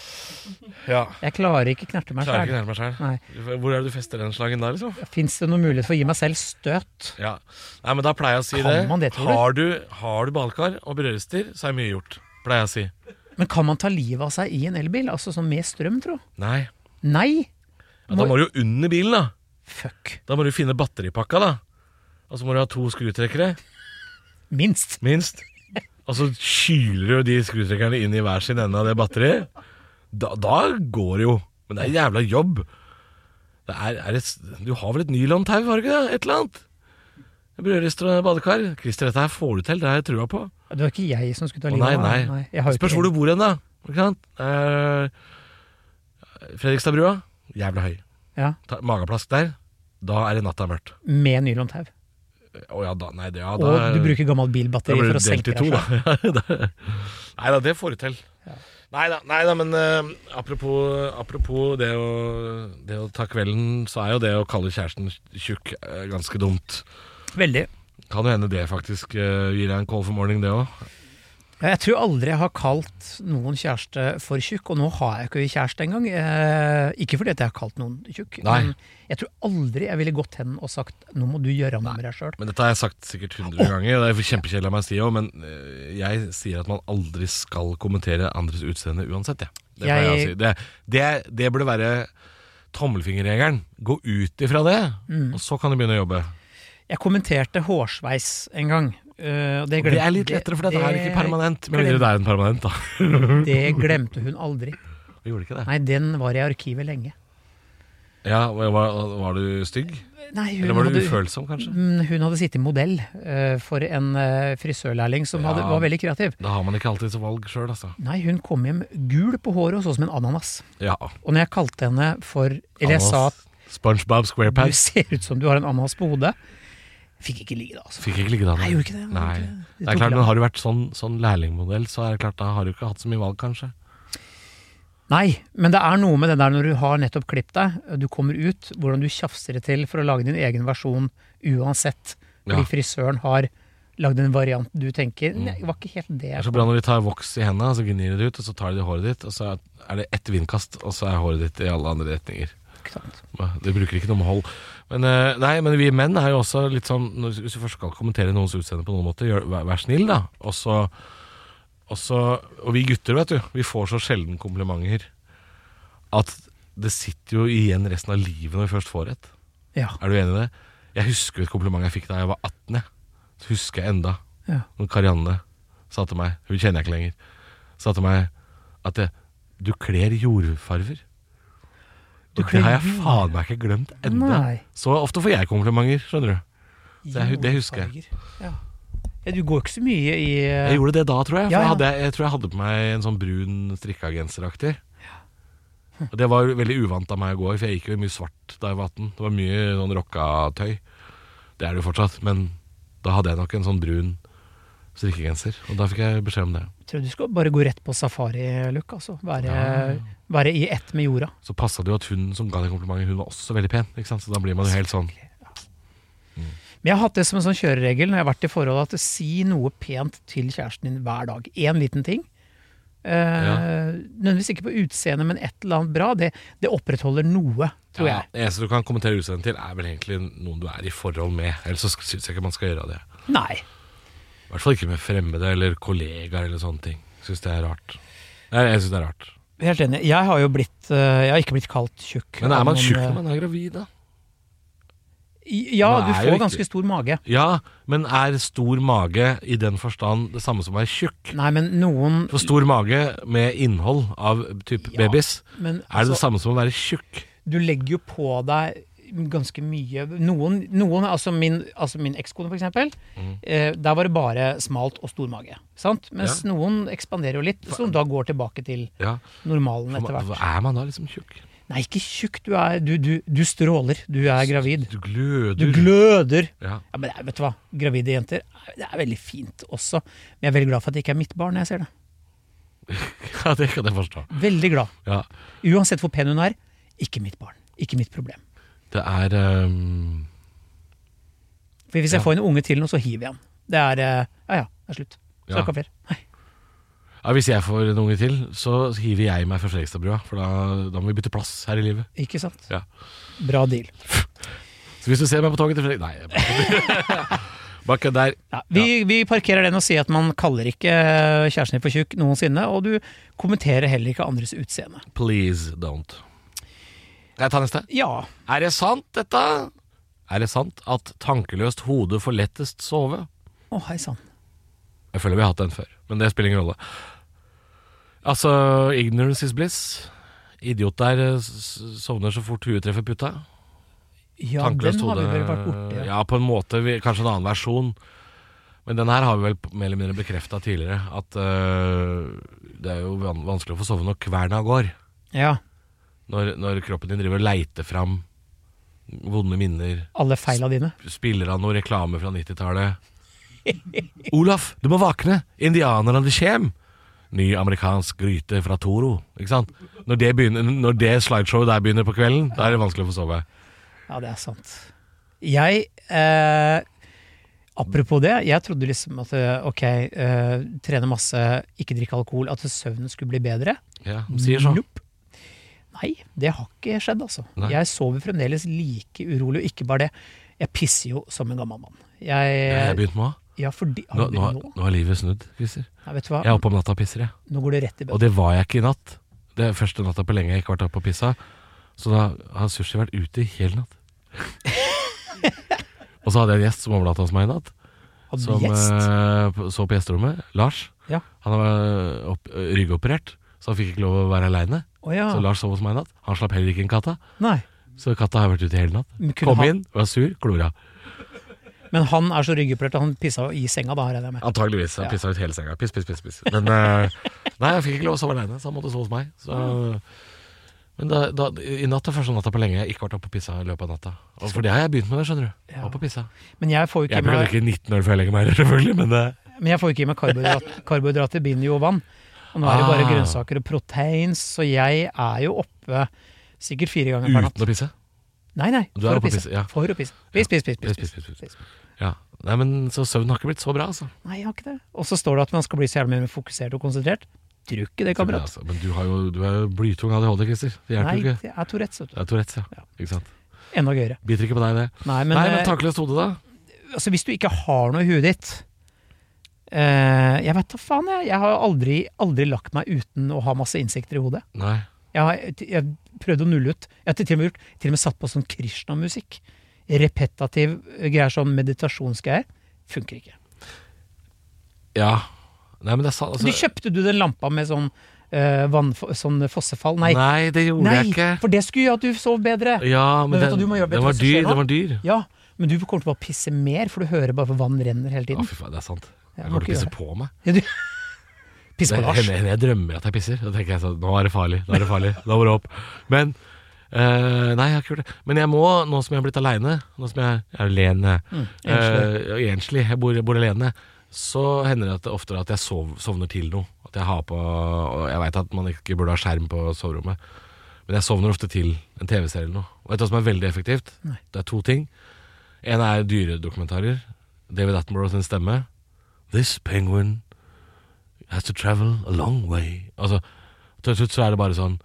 S1: ja.
S2: Jeg klarer ikke knerte meg
S1: Klarer ikke å
S2: sjæl.
S1: nærme meg
S2: Nei.
S1: sjøl. Hvor er det du fester den slangen da, liksom?
S2: Fins det noen mulighet for å gi meg selv støt?
S1: Ja. Nei, men da pleier jeg å si
S2: Kan
S1: det.
S2: man det, tror du?
S1: Har du, har du badekar og brødrister, så er mye gjort. Pleier jeg å si.
S2: Men kan man ta livet av seg i en elbil? Altså sånn med strøm, tro?
S1: Nei.
S2: Nei!
S1: Ja, da må du jo under bilen, da.
S2: Fuck.
S1: Da må du finne batteripakka, da. Og så må du ha to skrutrekkere,
S2: Minst.
S1: minst. Og så kyler du de skrutrekkerne inn i hver sin ende av det batteriet. Da, da går det jo. Men det er jævla jobb. Det er, er et, du har vel et nylontau, har du ikke det? Et eller annet? Brødrister og badekar. Christer, dette her får du til. Det har jeg trua på.
S2: Det var ikke jeg som skulle ta
S1: Å
S2: livet
S1: nei,
S2: av meg.
S1: nei.
S2: Jeg har jo
S1: Spørs
S2: ikke-
S1: hvor du bor hen, da. Ikke sant? Eh, Fredrikstadbrua. Jævla høy.
S2: Ja,
S1: Ta, mageplask der. Da er det natta mørkt.
S2: Med nylontau.
S1: Å ja, da, nei, det, ja, da,
S2: Og du
S1: er-
S2: bruker gammelt
S1: da
S2: bilbatteri
S1: blir
S2: for å
S1: det delt
S2: senke
S1: i to,
S2: deg
S1: da.
S2: selv.
S1: nei da, det får du til. Nei da, nei da, men eh, apropos, apropos det, å, det å ta kvelden, så er jo det å kalle kjæresten tjukk eh, ganske dumt.
S2: Veldig.
S1: Kan jo hende det faktisk eh, gir deg en call for morning, det òg.
S2: Jeg tror aldri jeg har kalt noen kjæreste for tjukk, og nå har jeg ikke kjæreste engang. Eh, ikke fordi at jeg har kalt noen tjukk,
S1: Nei.
S2: men jeg tror aldri jeg ville gått hen og sagt 'nå må du gjøre av med deg sjøl'.
S1: Men dette har jeg sagt sikkert 100 ganger, og det er kjempekjedelig av meg å si òg, men øh, jeg sier at man aldri skal kommentere andres utseende uansett, jeg. Det, pleier jeg... å
S2: Jeg-
S1: si. det, det, det burde være tommelfingerregelen. Gå ut ifra det, og så kan du begynne å jobbe.
S2: Jeg kommenterte hårsveis en gang. eh, og
S1: Det
S2: det, glemte-
S1: er litt lettere, for dette her er ikke permanent. Med mindre det er en permanent, da.
S2: Det glemte hun aldri.
S1: Vi gjorde ikke det.
S2: Nei, den var i arkivet lenge.
S1: Ja, var, var du stygg?
S2: Nei, hun
S1: Eller var du
S2: hadde-
S1: ufølsom, kanskje?
S2: Mm, Hun hadde sittet modell eh, for en eh, frisørlærling som hadde,
S1: Ja.
S2: var veldig kreativ.
S1: Da har man ikke alltid så valg sjøl, altså.
S2: Nei, hun kom hjem gul på håret og så som en ananas.
S1: Ja.
S2: Og når jeg kalte henne for Eller jeg sa
S1: Ananas.
S2: at
S1: SpongeBob
S2: du
S1: SquarePants.
S2: ser ut som du har en ananas på hodet, fikk ikke ligge det, altså.
S1: Fikk ikke ligge da.
S2: Nei, gjorde ikke det, gjorde
S1: Nei.
S2: ikke det.
S1: Det
S2: Det
S1: er
S2: tok
S1: klart,
S2: lang-
S1: men Har du vært sånn, sånn lærlingmodell, så er det klart, da har du ikke hatt så mye valg, kanskje.
S2: Nei, men det er noe med den der når du har nettopp klippet deg, du kommer ut, hvordan du tjafser det til for å lage din egen versjon uansett. Fordi
S1: Ja. Mm.
S2: frisøren har lagd en variant du tenker Nei, det var ikke helt det.
S1: Det
S2: jeg
S1: er så bra når de tar voks i hendene, og så gnir de det ut, og så tar de det i håret ditt, og så er det ett vindkast, og så er håret ditt i alle andre retninger.
S2: tenkte, sant?
S1: Det bruker ikke noe med hold. Men, eh, nei, men vi menn er jo også litt sånn når- Hvis du først skal kommentere noens utseende på noen måte, gjør, vær, vær snill, da. Og så og så- Og vi gutter, vet du, vi får så sjelden komplimenter at det sitter jo igjen resten av livet når vi først får et.
S2: Ja.
S1: Er du enig i det? Jeg husker et kompliment jeg fikk da jeg var 18. jeg. Det husker jeg enda.
S2: Ja.
S1: Når Karianne sa til meg Hun kjenner jeg ikke lenger. Sa til meg at jeg, du kler jordfarver.
S2: Du
S1: Og
S2: kler
S1: det har jeg
S2: jord-
S1: faen meg ikke glemt enda.
S2: Nei.
S1: Så ofte får jeg komplimenter, skjønner du. Det er- det husker jeg.
S2: Ja. ja, du går ikke så mye i eh,
S1: Jeg gjorde det da, tror jeg. For
S2: Ja, ja.
S1: Jeg, hadde, jeg tror jeg hadde på meg en sånn brun strikkeagenseraktig. Og det var veldig uvant av meg å gå i, for jeg gikk jo i mye svart da jeg var 18. Det var mye sånn rockatøy. Det er det jo fortsatt, men da hadde jeg nok en sånn brun strikkegenser. Og da fikk jeg beskjed om det.
S2: Jeg tror du skal bare gå rett på safari-look, altså. Være, være i ett med jorda.
S1: Så passa det jo at hun som ga deg komplimenter, hun var også veldig pen. Ikke sant? Så da blir man jo helt sånn
S2: Men jeg har hatt det som en sånn kjøreregel når jeg har vært i forhold, at si noe pent til kjæresten din hver dag. Én liten ting. Eh, Nødvendigvis ikke på utseendet, men et eller annet bra. Det, det opprettholder noe,
S1: ja,
S2: tror jeg.
S1: Det eneste du kan kommentere utseendet til, er vel egentlig noen du er i forhold med. Ellers så syns jeg ikke man skal gjøre det.
S2: Nei.
S1: I hvert fall ikke med fremmede eller kollegaer eller sånne ting. Syns det er rart. Nei, jeg synes det er rart.
S2: Helt enig. Jeg har jo blitt eh, Jeg har ikke blitt kalt tjukk.
S1: Men er man
S2: av noen,
S1: tjukk
S2: eh,
S1: når man er gravid, da?
S2: Ja,
S1: Man
S2: du
S1: er jo
S2: får
S1: ikke-
S2: ganske stor mage.
S1: Ja, men er stor mage i den forstand det samme som å være tjukk?
S2: Nei, men noen
S1: For stor mage med innhold av type
S2: Ja,
S1: babys,
S2: men,
S1: er det
S2: altså-
S1: det samme som å være tjukk?
S2: du legger jo på deg ganske mye. Noen, noen altså min, altså min ekskone for eksempel,
S1: Mhm.
S2: eh, der var det bare smalt og stor mage. Sant? Mens
S1: Ja.
S2: noen ekspanderer jo litt, som da går tilbake til
S1: Ja.
S2: normalen
S1: For
S2: etter
S1: man,
S2: hvert.
S1: er man da liksom tjukk?
S2: Nei, ikke tjukk. Du, er, du, du, du stråler. Du er gravid.
S1: Du gløder.
S2: Du gløder.
S1: ja.
S2: Ja, men det er- vet du hva? Gravide jenter, det er veldig fint også. Men jeg er veldig glad for at det ikke er mitt barn når jeg ser det.
S1: ja, det kan jeg forstå.
S2: Veldig glad.
S1: Ja.
S2: Uansett hvor pen hun er, ikke mitt barn. Ikke mitt problem.
S1: Det er ehm,
S2: For hvis jeg får en unge til nå, så hiver jeg den. Det er eh, Ja ja, det er slutt.
S1: Ja.
S2: Snakka flere. Nei.
S1: ja, Hvis jeg får en unge til, så hiver jeg meg fra Fredrikstadbrua. For da, da må vi bytte plass her i livet.
S2: Ikke sant?
S1: Ja.
S2: Bra deal.
S1: Så hvis du ser meg på toget til Fredrik Nei, jeg bare- bare kødd der.
S2: Ja, vi, vi parkerer den og sier at man kaller ikke eh, kjæresten din for tjukk noensinne, og du kommenterer heller ikke andres utseende.
S1: Please don't. Kan jeg ta neste?
S2: Ja,
S1: Er det sant, dette? Er det sant at tankeløst hode får lettest sove?
S2: å hei sann.
S1: Jeg føler vi har hatt den før, men det spiller ingen rolle. Altså, ignorance is bliss. Idiot der eh, s- sovner så fort huet treffer puta.
S2: Ja, den
S1: Tankeløst
S2: har vi vel
S1: hode-
S2: vært borti. Ja.
S1: Ja, på en måte. vi- Kanskje en annen versjon. Men den her har vi vel p- mer eller mindre bekrefta tidligere. At eh, det er jo van vanskelig å få sove når kverna går.
S2: ja.
S1: Når, når kroppen din driver og leiter fram vonde minner.
S2: Alle feila dine.
S1: Spiller av noe reklame fra 90-tallet. Olaf, du må vakne! Indianerne de kjem! Ny amerikansk gryte fra Toro. Ikke sant? Når det, begynner, når det slideshowet der begynner på kvelden, da er det vanskelig å få sove.
S2: Ja, det er sant. Jeg eh, Apropos det, jeg trodde liksom at eh, ok, eh, trene masse, ikke drikke alkohol, at søvnen skulle bli bedre.
S1: Ja, de sier sånn. så.
S2: Nope. Nei, det har ikke skjedd, altså.
S1: Nei.
S2: Jeg sover fremdeles like urolig, og ikke bare det. Jeg pisser jo som en gammel mann.
S1: Det har jeg
S2: Jeg,
S1: begynt med òg.
S2: ja, fordi,
S1: Nå,
S2: har du
S1: nå,
S2: begynt nå?
S1: nå er livet snudd, Christer.
S2: Nei, vet du hva?
S1: Jeg er oppe om natta og pisser, jeg.
S2: Nå går det rett
S1: Og
S2: i bøtta.
S1: det var jeg ikke i natt. Det er første natta på lenge jeg ikke har vært oppe og pissa. Så da har sushi vært ute i hele natt. og så hadde jeg en gjest som overnatta hos meg i natt.
S2: Hadde
S1: Som
S2: du gjest?
S1: eh, p- så på gjesterommet. Lars.
S2: Ja.
S1: Han var eh, opp, ryggoperert, så han fikk ikke lov å være aleine.
S2: Å ja.
S1: Så Lars sov hos meg i natt. Han slapp heller ikke inn katta.
S2: Nei.
S1: Så katta har vært ute i hele natt.
S2: Men kunne
S1: Kom
S2: han-
S1: inn, var sur, klora.
S2: Men han er så ryggeopprørt, og han pissa jo i senga da, regner jeg med.
S1: Antageligvis. Han pissa ut hele senga. Piss, piss, piss. piss. Men eh, nei, jeg fikk ikke lov å sove aleine, så han måtte sove hos meg. Så, men da, da, i natt er første natta på lenge jeg ikke har vært oppe og pissa i løpet av natta. Og for det har jeg begynt med, det, skjønner du.
S2: Ja.
S1: Opp og pissa.
S2: Men jeg får jo ikke
S1: Jeg blir
S2: med,
S1: ikke 19 år før jeg legger meg, selvfølgelig, men eh, det
S2: men jeg får jo ikke i meg karbohydrat, karbohydrater, binder jo vann. Og nå er det bare
S1: Ah.
S2: grønnsaker og proteins, så jeg er jo oppe sikkert fire ganger per natt.
S1: uten å pisse.
S2: Nei, nei,
S1: Du er
S2: for å
S1: oppe og
S2: pisse.
S1: pisser, ja.
S2: For å pisse. Piss, piss, piss. piss,
S1: Piss, piss,
S2: piss,
S1: piss, piss. Ja. Nei, men så søvnen har ikke blitt så bra, altså.
S2: Nei, jeg har ikke det. Og så står det at man skal bli så jævlig mer fokusert og konsentrert. Tror ikke det,
S1: Men,
S2: kamerat.
S1: altså, men du har jo, du er jo blytung ADHD, Christer. Det hjelper
S2: Nei,
S1: jo ikke.
S2: det er Tourettes. vet du.
S1: Det er Tourettes, ja.
S2: Ja.
S1: Ikke sant.
S2: Enda gøyere.
S1: Biter ikke på deg, det.
S2: Nei, men,
S1: Nei, men
S2: eh,
S1: tankeløst hode, da?
S2: altså, hvis du ikke har noe i huet ditt eh, Jeg vet da faen, jeg. Jeg har aldri, aldri lagt meg uten å ha masse insekter i hodet.
S1: Nei.
S2: Jeg har jeg prøvd å nulle ut. Jeg har til og med, gjort, til og med satt på sånn Krishna-musikk. Repetativ greier, sånn meditasjonsgreier. Funker ikke.
S1: Ja. Nei, men det er altså- sant.
S2: Du kjøpte du den lampa med sånn, eh, vannf- sånn fossefall? Nei.
S1: det gjorde
S2: Nei,
S1: jeg ikke.
S2: for det skulle gjøre at du sov bedre.
S1: Ja, men,
S2: Men vet
S1: den,
S2: du, du må gjøre
S1: den
S2: bedre
S1: var
S2: for seg
S1: dyr.
S2: selv,
S1: Den var dyr.
S2: Ja, men du kommer til å bare pisse mer, for du hører bare vann renner hele
S1: Å,
S2: tiden.
S1: fy faen, det er sant.
S2: Ja,
S1: Jeg
S2: må
S1: kommer
S2: ikke
S1: til å
S2: gjøre
S1: pisse på meg.
S2: Ja, du... Piss
S1: Det,
S2: på Lars.
S1: hender, hender jeg drømmer at jeg pisser. Da tenker jeg sånn Nå er det farlig. Nå er det farlig. Da må det opp. Men eh, Nei, jeg har ikke gjort det. Men jeg må, nå som jeg har blitt aleine Nå som jeg jeg er alene
S2: Mm, enslig.
S1: eh, ja, enslig, jeg bor, jeg bor alene, så hender det at det oftere at jeg sov, sovner til noe. At jeg har på Og jeg veit at man ikke burde ha skjerm på soverommet, men jeg sovner ofte til en TV-serie eller noe. Og vet du hva som er veldig effektivt?
S2: Nei.
S1: Det er to ting. En er dyredokumentarer. David Attenborough sin stemme. This penguin has to travel a long way. Altså, til slutt så er det bare sånn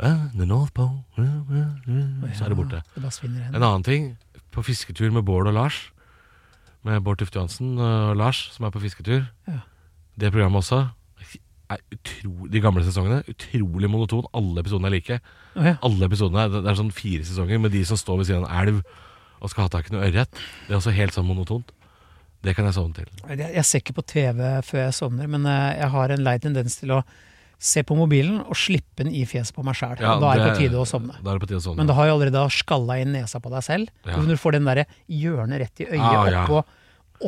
S1: eh, The North Pole eh, eh, eh, Så er det borte.
S2: Det bare svinner hen.
S1: En annen ting, på fisketur med Bård og Lars Med Bård Tufte Johansen eh, og Lars Som er på fisketur
S2: Ja.
S1: Det programmet også er utro, De gamle sesongene, utrolig monoton Alle episodene er like
S2: Å, ja.
S1: Alle episodene, det det er sånn fire sesonger Med de som står ved siden av en elv Og skal ha tak i noe ørret Det er også helt sånn monotont Det kan jeg sovne til
S2: Jeg, jeg ser ikke på TV før jeg sovner, men eh, jeg har en lei tendens til å se på mobilen og slippe den i fjeset på meg sjæl. da er det på tide å sovne.
S1: Da er det på tide å sovne
S2: Men da har jeg allerede da skalla inn nesa på deg selv.
S1: Ja.
S2: Og Når du får den der hjørnet rett i øyet,
S1: Ah, ja.
S2: oppå,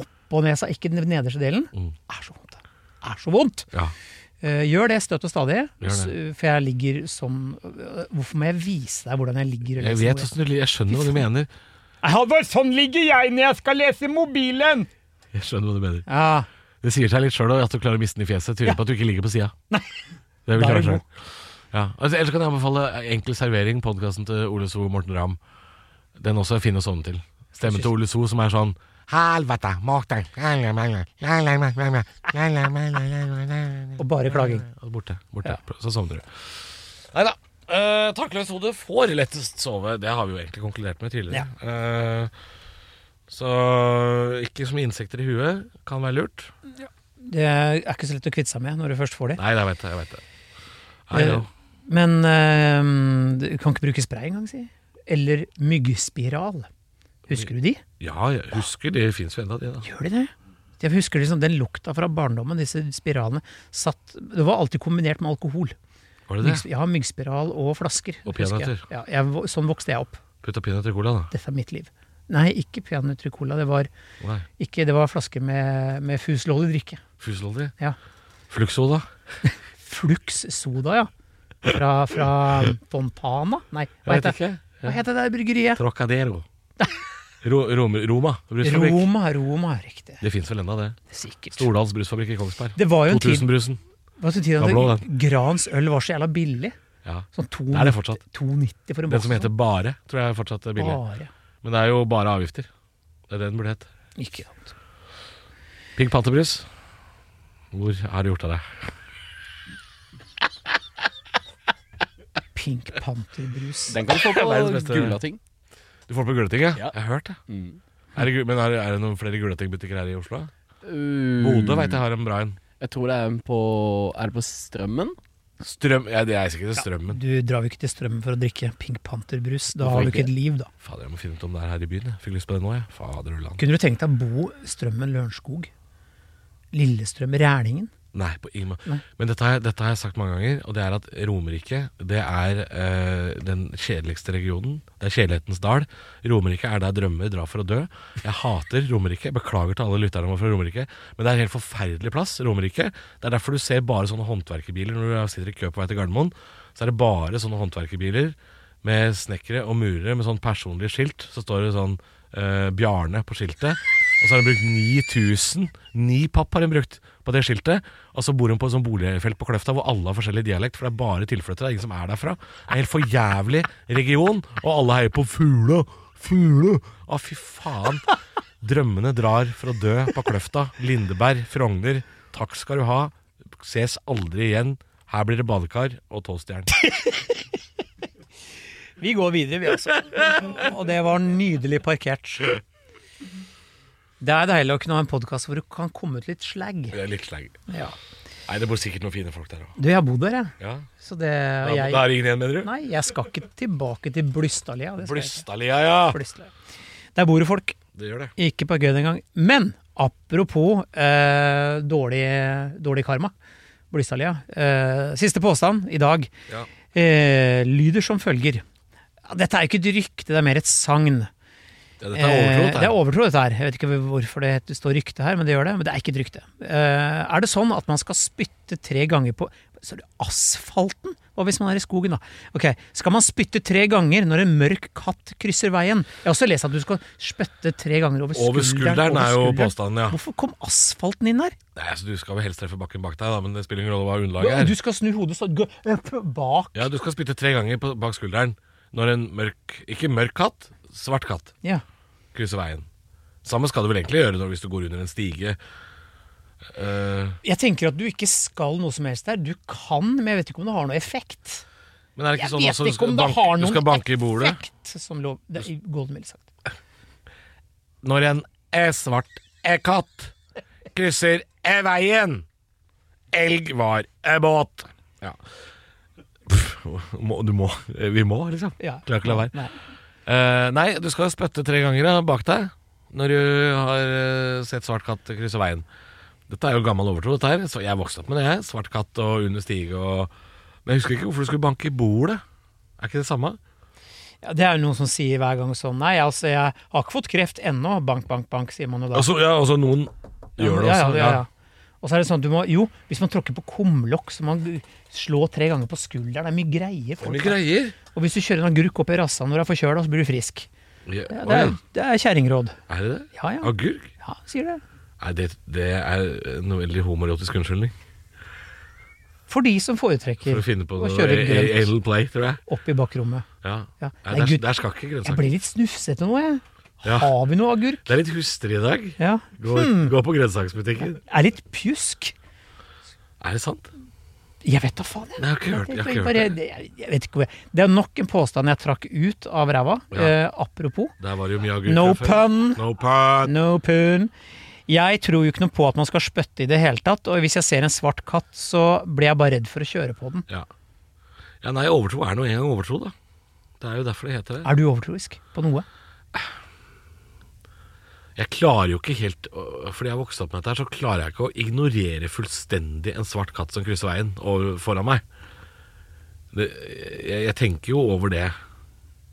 S2: oppå nesa, ikke den nederste delen,
S1: Mm.
S2: er så vondt. Er så vondt!
S1: ja.
S2: Eh, gjør det støtt og stadig,
S1: det.
S2: s- for jeg ligger sånn eh, Hvorfor må jeg vise deg hvordan jeg ligger? og liksom-
S1: Jeg vet hvordan
S2: leser mobil?
S1: du, jeg skjønner hva du mener
S2: Halvor, sånn ligger jeg når jeg skal lese mobilen!
S1: Jeg skjønner hva du mener
S2: Ja,
S1: Det sier seg litt sjøl at du klarer å miste den i fjeset. Tyder på at du ikke ligger på sida. Det vil
S2: Da er
S1: klare
S2: du god.
S1: selv. Ja. Altså, ellers kan jeg anbefale Enkel servering, podkasten til Ole So og Morten Ramm. Den også er fin å sovne til. Stemmen til Ole So som er sånn Helvete, mak deg
S2: og bare klaging.
S1: Borte. borte. Så sovner du. Nei da. Uh, Takkløst hode får lettest sove. Det har vi jo egentlig konkludert med tidligere. Eh, så ikke så mye insekter i huet kan være lurt.
S2: Det er ikke så lett å kvitte seg med når du først får det.
S1: Nei, jeg veit det. Jeg vet det. I know.
S2: Men eh, du kan ikke bruke spray engang, si. Eller myggspiral. Husker du de?
S1: Ja, jeg husker det fins jo enda de, da.
S2: Gjør de det? Jeg husker liksom den lukta fra barndommen, disse spiralene. Satt, det var alltid kombinert med alkohol.
S1: Var det
S2: Myggs,
S1: det?
S2: ja, Myggspiral og flasker.
S1: Og
S2: husker jeg.
S1: peanøtter.
S2: Ja, jeg, vo- sånn vokste jeg opp.
S1: Putta peanøtter i cola, da.
S2: Dette er mitt liv. Nei, ikke peanøtter i cola. Det var,
S1: Nei.
S2: ikke- det var flasker med, med fuslålig drikke.
S1: Fuselolje.
S2: Ja.
S1: Fluxoda.
S2: Flux Soda, ja. Fra, fra Fontana? Nei, hva
S1: Jeg vet
S2: heter, det?
S1: ikke.
S2: hva heter det der bryggeriet?
S1: Trocadero. Ro, Rom, Roma brusfabrikk.
S2: Roma, Roma, riktig.
S1: Det fins vel enda, det.
S2: Sikkert.
S1: Stordals brusfabrikk i Kongsberg.
S2: Det var jo en tid,
S1: 2000-brusen.
S2: var det en tid
S1: Var blå,
S2: at Grans øl var så jævla billig.
S1: Ja.
S2: Sånn to-
S1: Det er det fortsatt.
S2: 2,90 for en
S1: Den
S2: boks.
S1: som heter Bare, tror jeg fortsatt er billig.
S2: Bare.
S1: Men det er jo bare avgifter. Det er det den burde hett.
S2: Ikke sant.
S1: Pigg pattebrus. Hvor har du gjort av deg?
S2: Pink Panther-brus.
S4: Den kan du få
S1: Verdens
S4: på
S1: beste-
S4: Gulating.
S1: Du får på Gulating, ja?
S4: Ja.
S1: Jeg har hørt det.
S4: Mm.
S1: Er det gu- men er, er det noen flere Gulating-butikker her i Oslo?
S4: Uh,
S1: Bodø veit jeg har en bra en.
S4: Jeg tror det er en på Er det på Strømmen?
S1: Strøm ja, Det er sikkert Strømmen.
S2: Du drar jo ikke til Strømmen for å drikke Pink Panther-brus. Da har du ikke et liv, da.
S1: Fader, jeg må finne ut om det er her i byen. Jeg fikk lyst på det nå, jeg. Fader ulland.
S2: Kunne du tenkt deg å bo Strømmen, Lørenskog? Lillestrøm, Rælingen?
S1: Nei, på ingen måte.
S2: Nei.
S1: Men dette har, jeg, dette har jeg sagt mange ganger, og det er at Romerike det er eh, den kjedeligste regionen. Det er kjedelighetens dal. Romerike er der drømmer drar for å dø. Jeg hater Romerike. Beklager til alle lytterne våre fra Romerike, men det er en helt forferdelig plass. Romerike. Det er derfor du ser bare sånne håndverkerbiler når du sitter i kø på vei til Gardermoen. Så er det bare sånne håndverkerbiler med snekkere og murere med sånn personlig skilt. Så står det sånn eh, Bjarne på skiltet. Og så har hun brukt 9000. Ni papp har hun brukt på det skiltet. Og så bor hun på et sånt boligfelt på Kløfta hvor alle har forskjellig dialekt, for det er bare tilflyttere. Det er ingen som er derfra. Det er en helt for jævlig region, og alle heier på fugla. Fugla. Å, fy faen. Drømmene drar for å dø på Kløfta. Lindeberg, Frogner. Takk skal du ha. Ses aldri igjen. Her blir det badekar og toastjern.
S2: Vi går videre, vi altså. Og det var nydelig parkert. Det er deilig å kunne ha en podkast hvor du kan komme ut litt slag.
S1: Det er litt slang.
S2: Ja.
S1: Nei, det bor sikkert noen fine folk der òg.
S2: Du, jeg har bodd der, jeg.
S1: Ja.
S2: Så det og
S1: Da, da
S2: jeg,
S1: er det ingen igjen, mener du?
S2: Nei, jeg skal ikke tilbake til Blystadlia. det skal jeg ikke.
S1: Blystadlia, ja.
S2: Blystadlia. Der bor det folk.
S1: Det gjør det.
S2: Ikke på gøy den gang. Men apropos eh, dårlig, dårlig karma. Blystadlia. Eh, siste påstand i dag
S1: Ja.
S2: eh, lyder som følger. Ja, Dette er jo ikke et rykte, det er mer et sagn.
S1: Ja, dette er overtro,
S2: Eh,
S1: dette
S2: Det
S1: her.
S2: er overtro, dette her. Jeg vet ikke hvorfor det heter- står rykte her, men det gjør det. Men det er ikke et rykte. Eh, er det sånn at man skal spytte tre ganger på Så er det asfalten? Hva hvis man er i skogen, da? Ok, Skal man spytte tre ganger når en mørk katt krysser veien? Jeg har også lest at du skal spytte tre ganger over skulderen.
S1: Over skulderen er jo
S2: over skulderen.
S1: påstanden, ja.
S2: Hvorfor kom asfalten inn der?
S1: Nei, altså, du skal vel helst treffe bakken bak deg, da, men det spiller ingen rolle hva
S2: Du,
S1: underlaget
S2: du
S1: er.
S2: skal snu hodet så, gå- opp bak.
S1: Ja, du skal spytte tre ganger på, bak skulderen når en mørk Ikke mørk katt, svart katt
S2: Ja.
S1: krysser veien. Samme skal du vel egentlig gjøre når, hvis du går under en stige. Eh,
S2: Jeg tenker at du ikke skal noe som helst der. Du kan, men jeg vet ikke om det har noe effekt.
S1: men er det ikke
S2: Jeg
S1: sånn
S2: vet
S1: også du
S2: ikke
S1: skal,
S2: om det
S1: banke,
S2: har
S1: du
S2: noen
S1: skal banke i bordet?
S2: Effekt, som lov. Det er golden mildt sagt.
S1: Når en er svart er katt krysser er veien. Elg var er båt. Ja. Pff, må, du må Vi må, liksom.
S2: Ja.
S1: Klarer ikke å la være.
S2: Nei.
S1: Eh, nei, du skal spytte tre ganger da, bak deg når du har eh, sett svart katt krysse veien. Dette er jo gammel overtro. dette her Så Jeg vokste opp med det. jeg. Svart katt og under stige og Men jeg husker ikke hvorfor du skulle banke i bordet. Er ikke det samme?
S2: Ja, det er jo noen som sier hver gang sånn Nei, altså, jeg har ikke fått kreft ennå. Bank, bank, bank, sier man jo da.
S1: Altså, ja, altså noen gjør det
S2: Ja,
S1: også.
S2: ja, ja, ja. Og så er det sånn at du må Jo, hvis man tråkker på kumlokk, så må man slå tre ganger på skulderen. Det er mye greier.
S1: Det er
S2: Folk.
S1: mye greier.
S2: Og hvis du kjører en agurk opp i rassa når du er forkjøla, så blir du frisk.
S1: Ja,
S2: Ja,
S1: å,
S2: det
S1: ja.
S2: er, det er kjerringråd.
S1: Er det det?
S2: Ja, ja.
S1: Agurk?
S2: Ja, sier det.
S1: Nei, det, det er en veldig homoerotisk unnskyldning
S2: For de som foretrekker
S1: for å finne på noe
S2: å kjøre
S1: A- A-
S2: grønt
S1: Adel Play, tror jeg.
S2: opp i bakrommet.
S1: Ja.
S2: Ja.
S1: Nei,
S2: Nei,
S1: der,
S2: Gud,
S1: der skal ikke
S2: jeg
S1: grønnsaker.
S2: ble litt snufsete nå, jeg.
S1: Ja.
S2: Har vi noe agurk?
S1: Det er litt hustrig i dag.
S2: Ja. Hmm.
S1: Gå, gå på grønnsaksbutikken.
S2: Er litt pjusk.
S1: Er det sant?
S2: Jeg vet da faen, jeg.
S1: Nei, jeg har ikke hørt, jeg har ikke
S2: Bare-
S1: hørt det.
S2: det- jeg- jeg vet ikke hvor jeg- Det er nok en påstand jeg trakk ut av ræva.
S1: Ja.
S2: Eh, apropos.
S1: Der var det jo mye agurk
S2: No
S1: fra før.
S2: pun,
S1: No pun.
S2: no pun. Jeg tror jo ikke noe på at man skal spytte i det hele tatt, og hvis jeg ser en svart katt, så blir jeg bare redd for å kjøre på den.
S1: Ja. ja, nei, overtro er nå en gang overtro, da. Det er jo derfor det heter det.
S2: Er du overtroisk på noe?
S1: Jeg klarer jo ikke helt å- Fordi jeg har vokst opp med dette, her, så klarer jeg ikke å ignorere fullstendig en svart katt som krysser veien over, foran meg. Det, jeg, jeg tenker jo over det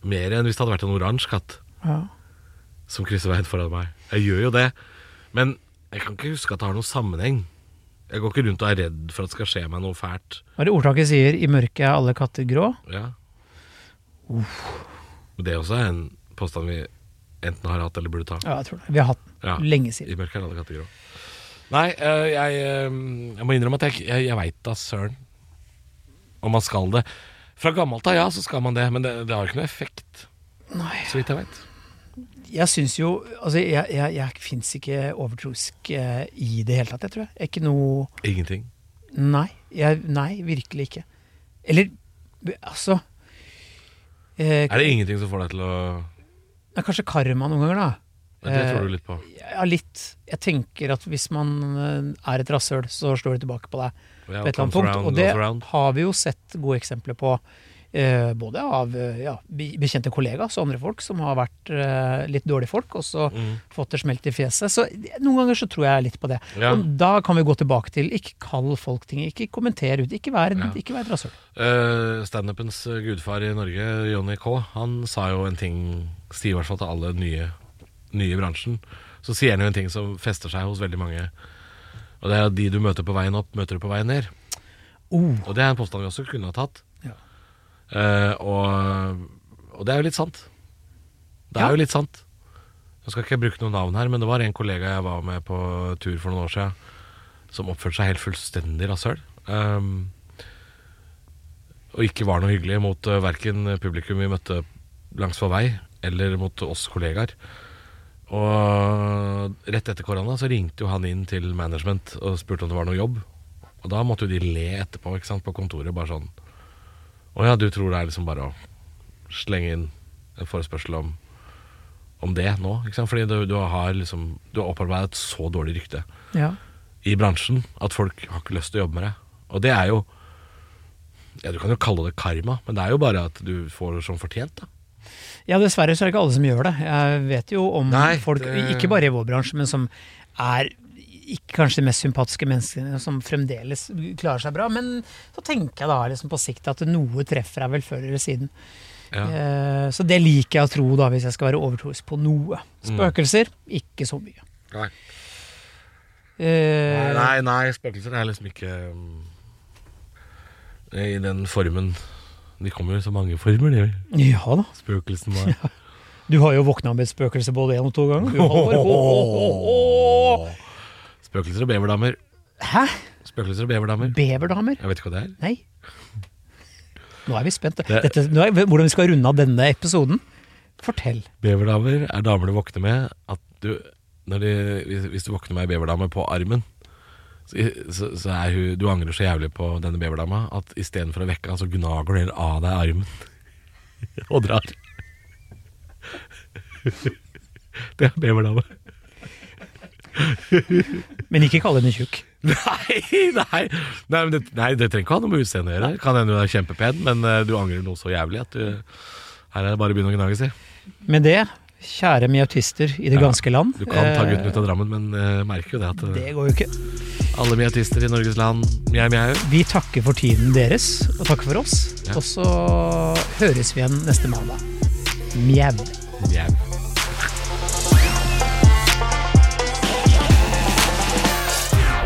S1: mer enn hvis det hadde vært en oransje katt
S2: Ja.
S1: som krysser veien foran meg. Jeg gjør jo det, men jeg kan ikke huske at det har noen sammenheng. Jeg går ikke rundt og er redd for at det skal skje meg noe fælt.
S2: Hva er det ordtaket sier? I mørket er alle katter grå.
S1: Ja. Men det er også en påstand vi enten har hatt eller burde ta.
S2: Ja, jeg tror det. Vi har hatt den
S1: Ja.
S2: lenge siden.
S1: I mørket er alle katter grå. Nei, eh, jeg, eh, jeg må innrømme at jeg, ikke- jeg, jeg veit da søren om man skal det. Fra gammelt av, ja, så skal man det, men det, det har ikke noe effekt,
S2: Nei.
S1: så vidt jeg veit.
S2: jeg syns jo Altså, jeg, jeg, jeg fins ikke overtroisk eh, i det hele tatt, jeg tror jeg. Jeg er ikke noe
S1: Ingenting.
S2: Nei, jeg, nei, virkelig ikke. Eller altså eh,
S1: Er det ingenting som får deg til å
S2: ja, Kanskje karma noen ganger, da.
S1: Det
S2: Eh,
S1: tror du litt på.
S2: Ja, litt. Jeg tenker at hvis man eh, er et rasshøl, så slår det tilbake på deg
S1: Ja,
S2: på et eller
S1: comes
S2: annet punkt.
S1: around,
S2: og det
S1: goes around.
S2: har vi jo sett gode eksempler på. eh, både av eh, ja, be- bekjente kollegas og andre folk som har vært eh, litt dårlige folk, og så
S1: Mm.
S2: fått det smelt i fjeset. Så noen ganger så tror jeg litt på det.
S1: Ja.
S2: Og da kan vi gå tilbake til ikke kall folk ting, ikke kommenter ut, ikke vær,
S1: Ja.
S2: ikke vær et rasshøl.
S1: Eh, Standupens eh, gudfar i Norge, Johnny K, han sa jo en ting Sier i hvert fall til alle nye, nye i bransjen. Så sier han jo en ting som fester seg hos veldig mange. Og det er at de du møter på veien opp, møter du på veien ned.
S2: Oh,
S1: Og det er en påstand vi også kunne ha tatt.
S2: Ja.
S1: Eh, og, og det er jo litt sant. Det er
S2: Ja.
S1: jo litt sant. Jeg skal ikke bruke noe navn her, men det var en kollega jeg var med på tur for noen år siden, som oppførte seg helt fullstendig rasshøl. Um, og ikke var noe hyggelig mot uh, verken publikum vi møtte langs vår vei, eller mot oss kollegaer. Og rett etter korona så ringte jo han inn til management og spurte om det var noe jobb. Og da måtte jo de le etterpå ikke sant, på kontoret, bare sånn Å ja, du tror det er liksom bare å slenge inn en forespørsel om, om det nå? Ikke sant? Fordi du, du har liksom Du har opparbeidet et så dårlig rykte
S2: ja.
S1: i bransjen at folk har ikke lyst til å jobbe med deg. Og det er jo ja, Du kan jo kalle det karma, men det er jo bare at du får som fortjent. da
S2: Ja, dessverre så er det ikke alle som gjør det. Jeg vet jo om
S1: Nei,
S2: folk,
S1: det-
S2: ikke bare i vår bransje, men som er ikke kanskje de mest sympatiske menneskene som fremdeles klarer seg bra. Men så tenker jeg da liksom på sikt at noe treffer deg vel før eller siden.
S1: Ja.
S2: Eh, Så det liker jeg å tro da, hvis jeg skal være overtroisk på noe.
S1: Mm.
S2: Spøkelser, ikke så mye.
S1: Nei.
S2: Eh,
S1: Nei, nei, nei, spøkelser er liksom ikke um, I den formen De kommer jo i så mange former, de.
S2: Ja da.
S1: Spøkelsen var
S2: Du har jo våkna med et spøkelse både én og to ganger. Du, Halvor. Ho, ho, ho, ho.
S1: Spøkelser og beverdammer.
S2: Hæ?
S1: Spøkelser og beverdammer.
S2: Beverdamer?
S1: Jeg vet ikke hva det er.
S2: Nei. Nå er vi spent.
S1: Det-
S2: Dette, nå er, hvordan vi skal runde av denne episoden? Fortell.
S1: Beverdammer er damer du våkner med at du, når de, hvis, hvis du våkner med ei beverdame på armen, så, så, så er hun Du angrer så jævlig på denne beverdama at istedenfor å vekke henne, så gnager du helt av deg armen og drar. Det er beverdame.
S2: Men ikke kall henne tjukk.
S1: Nei, nei. Nei, men det, nei, det trenger ikke ha noe med utseendet å gjøre. Kan hende hun er kjempepen, men eh, du angrer noe så jævlig at du Her er det bare å begynne å gnage, si.
S2: Med det, kjære miautister i det
S1: Ja,
S2: ganske land.
S1: Du kan ta
S2: eh,
S1: gutten ut av Drammen, men eh, merker jo det at eh,
S2: Det går jo ikke.
S1: alle miatister i Norges land mjau, mjau.
S2: Vi takker for tiden deres, og takker for oss.
S1: Ja.
S2: Og så høres vi igjen neste mandag. Mjau.
S1: Mjau.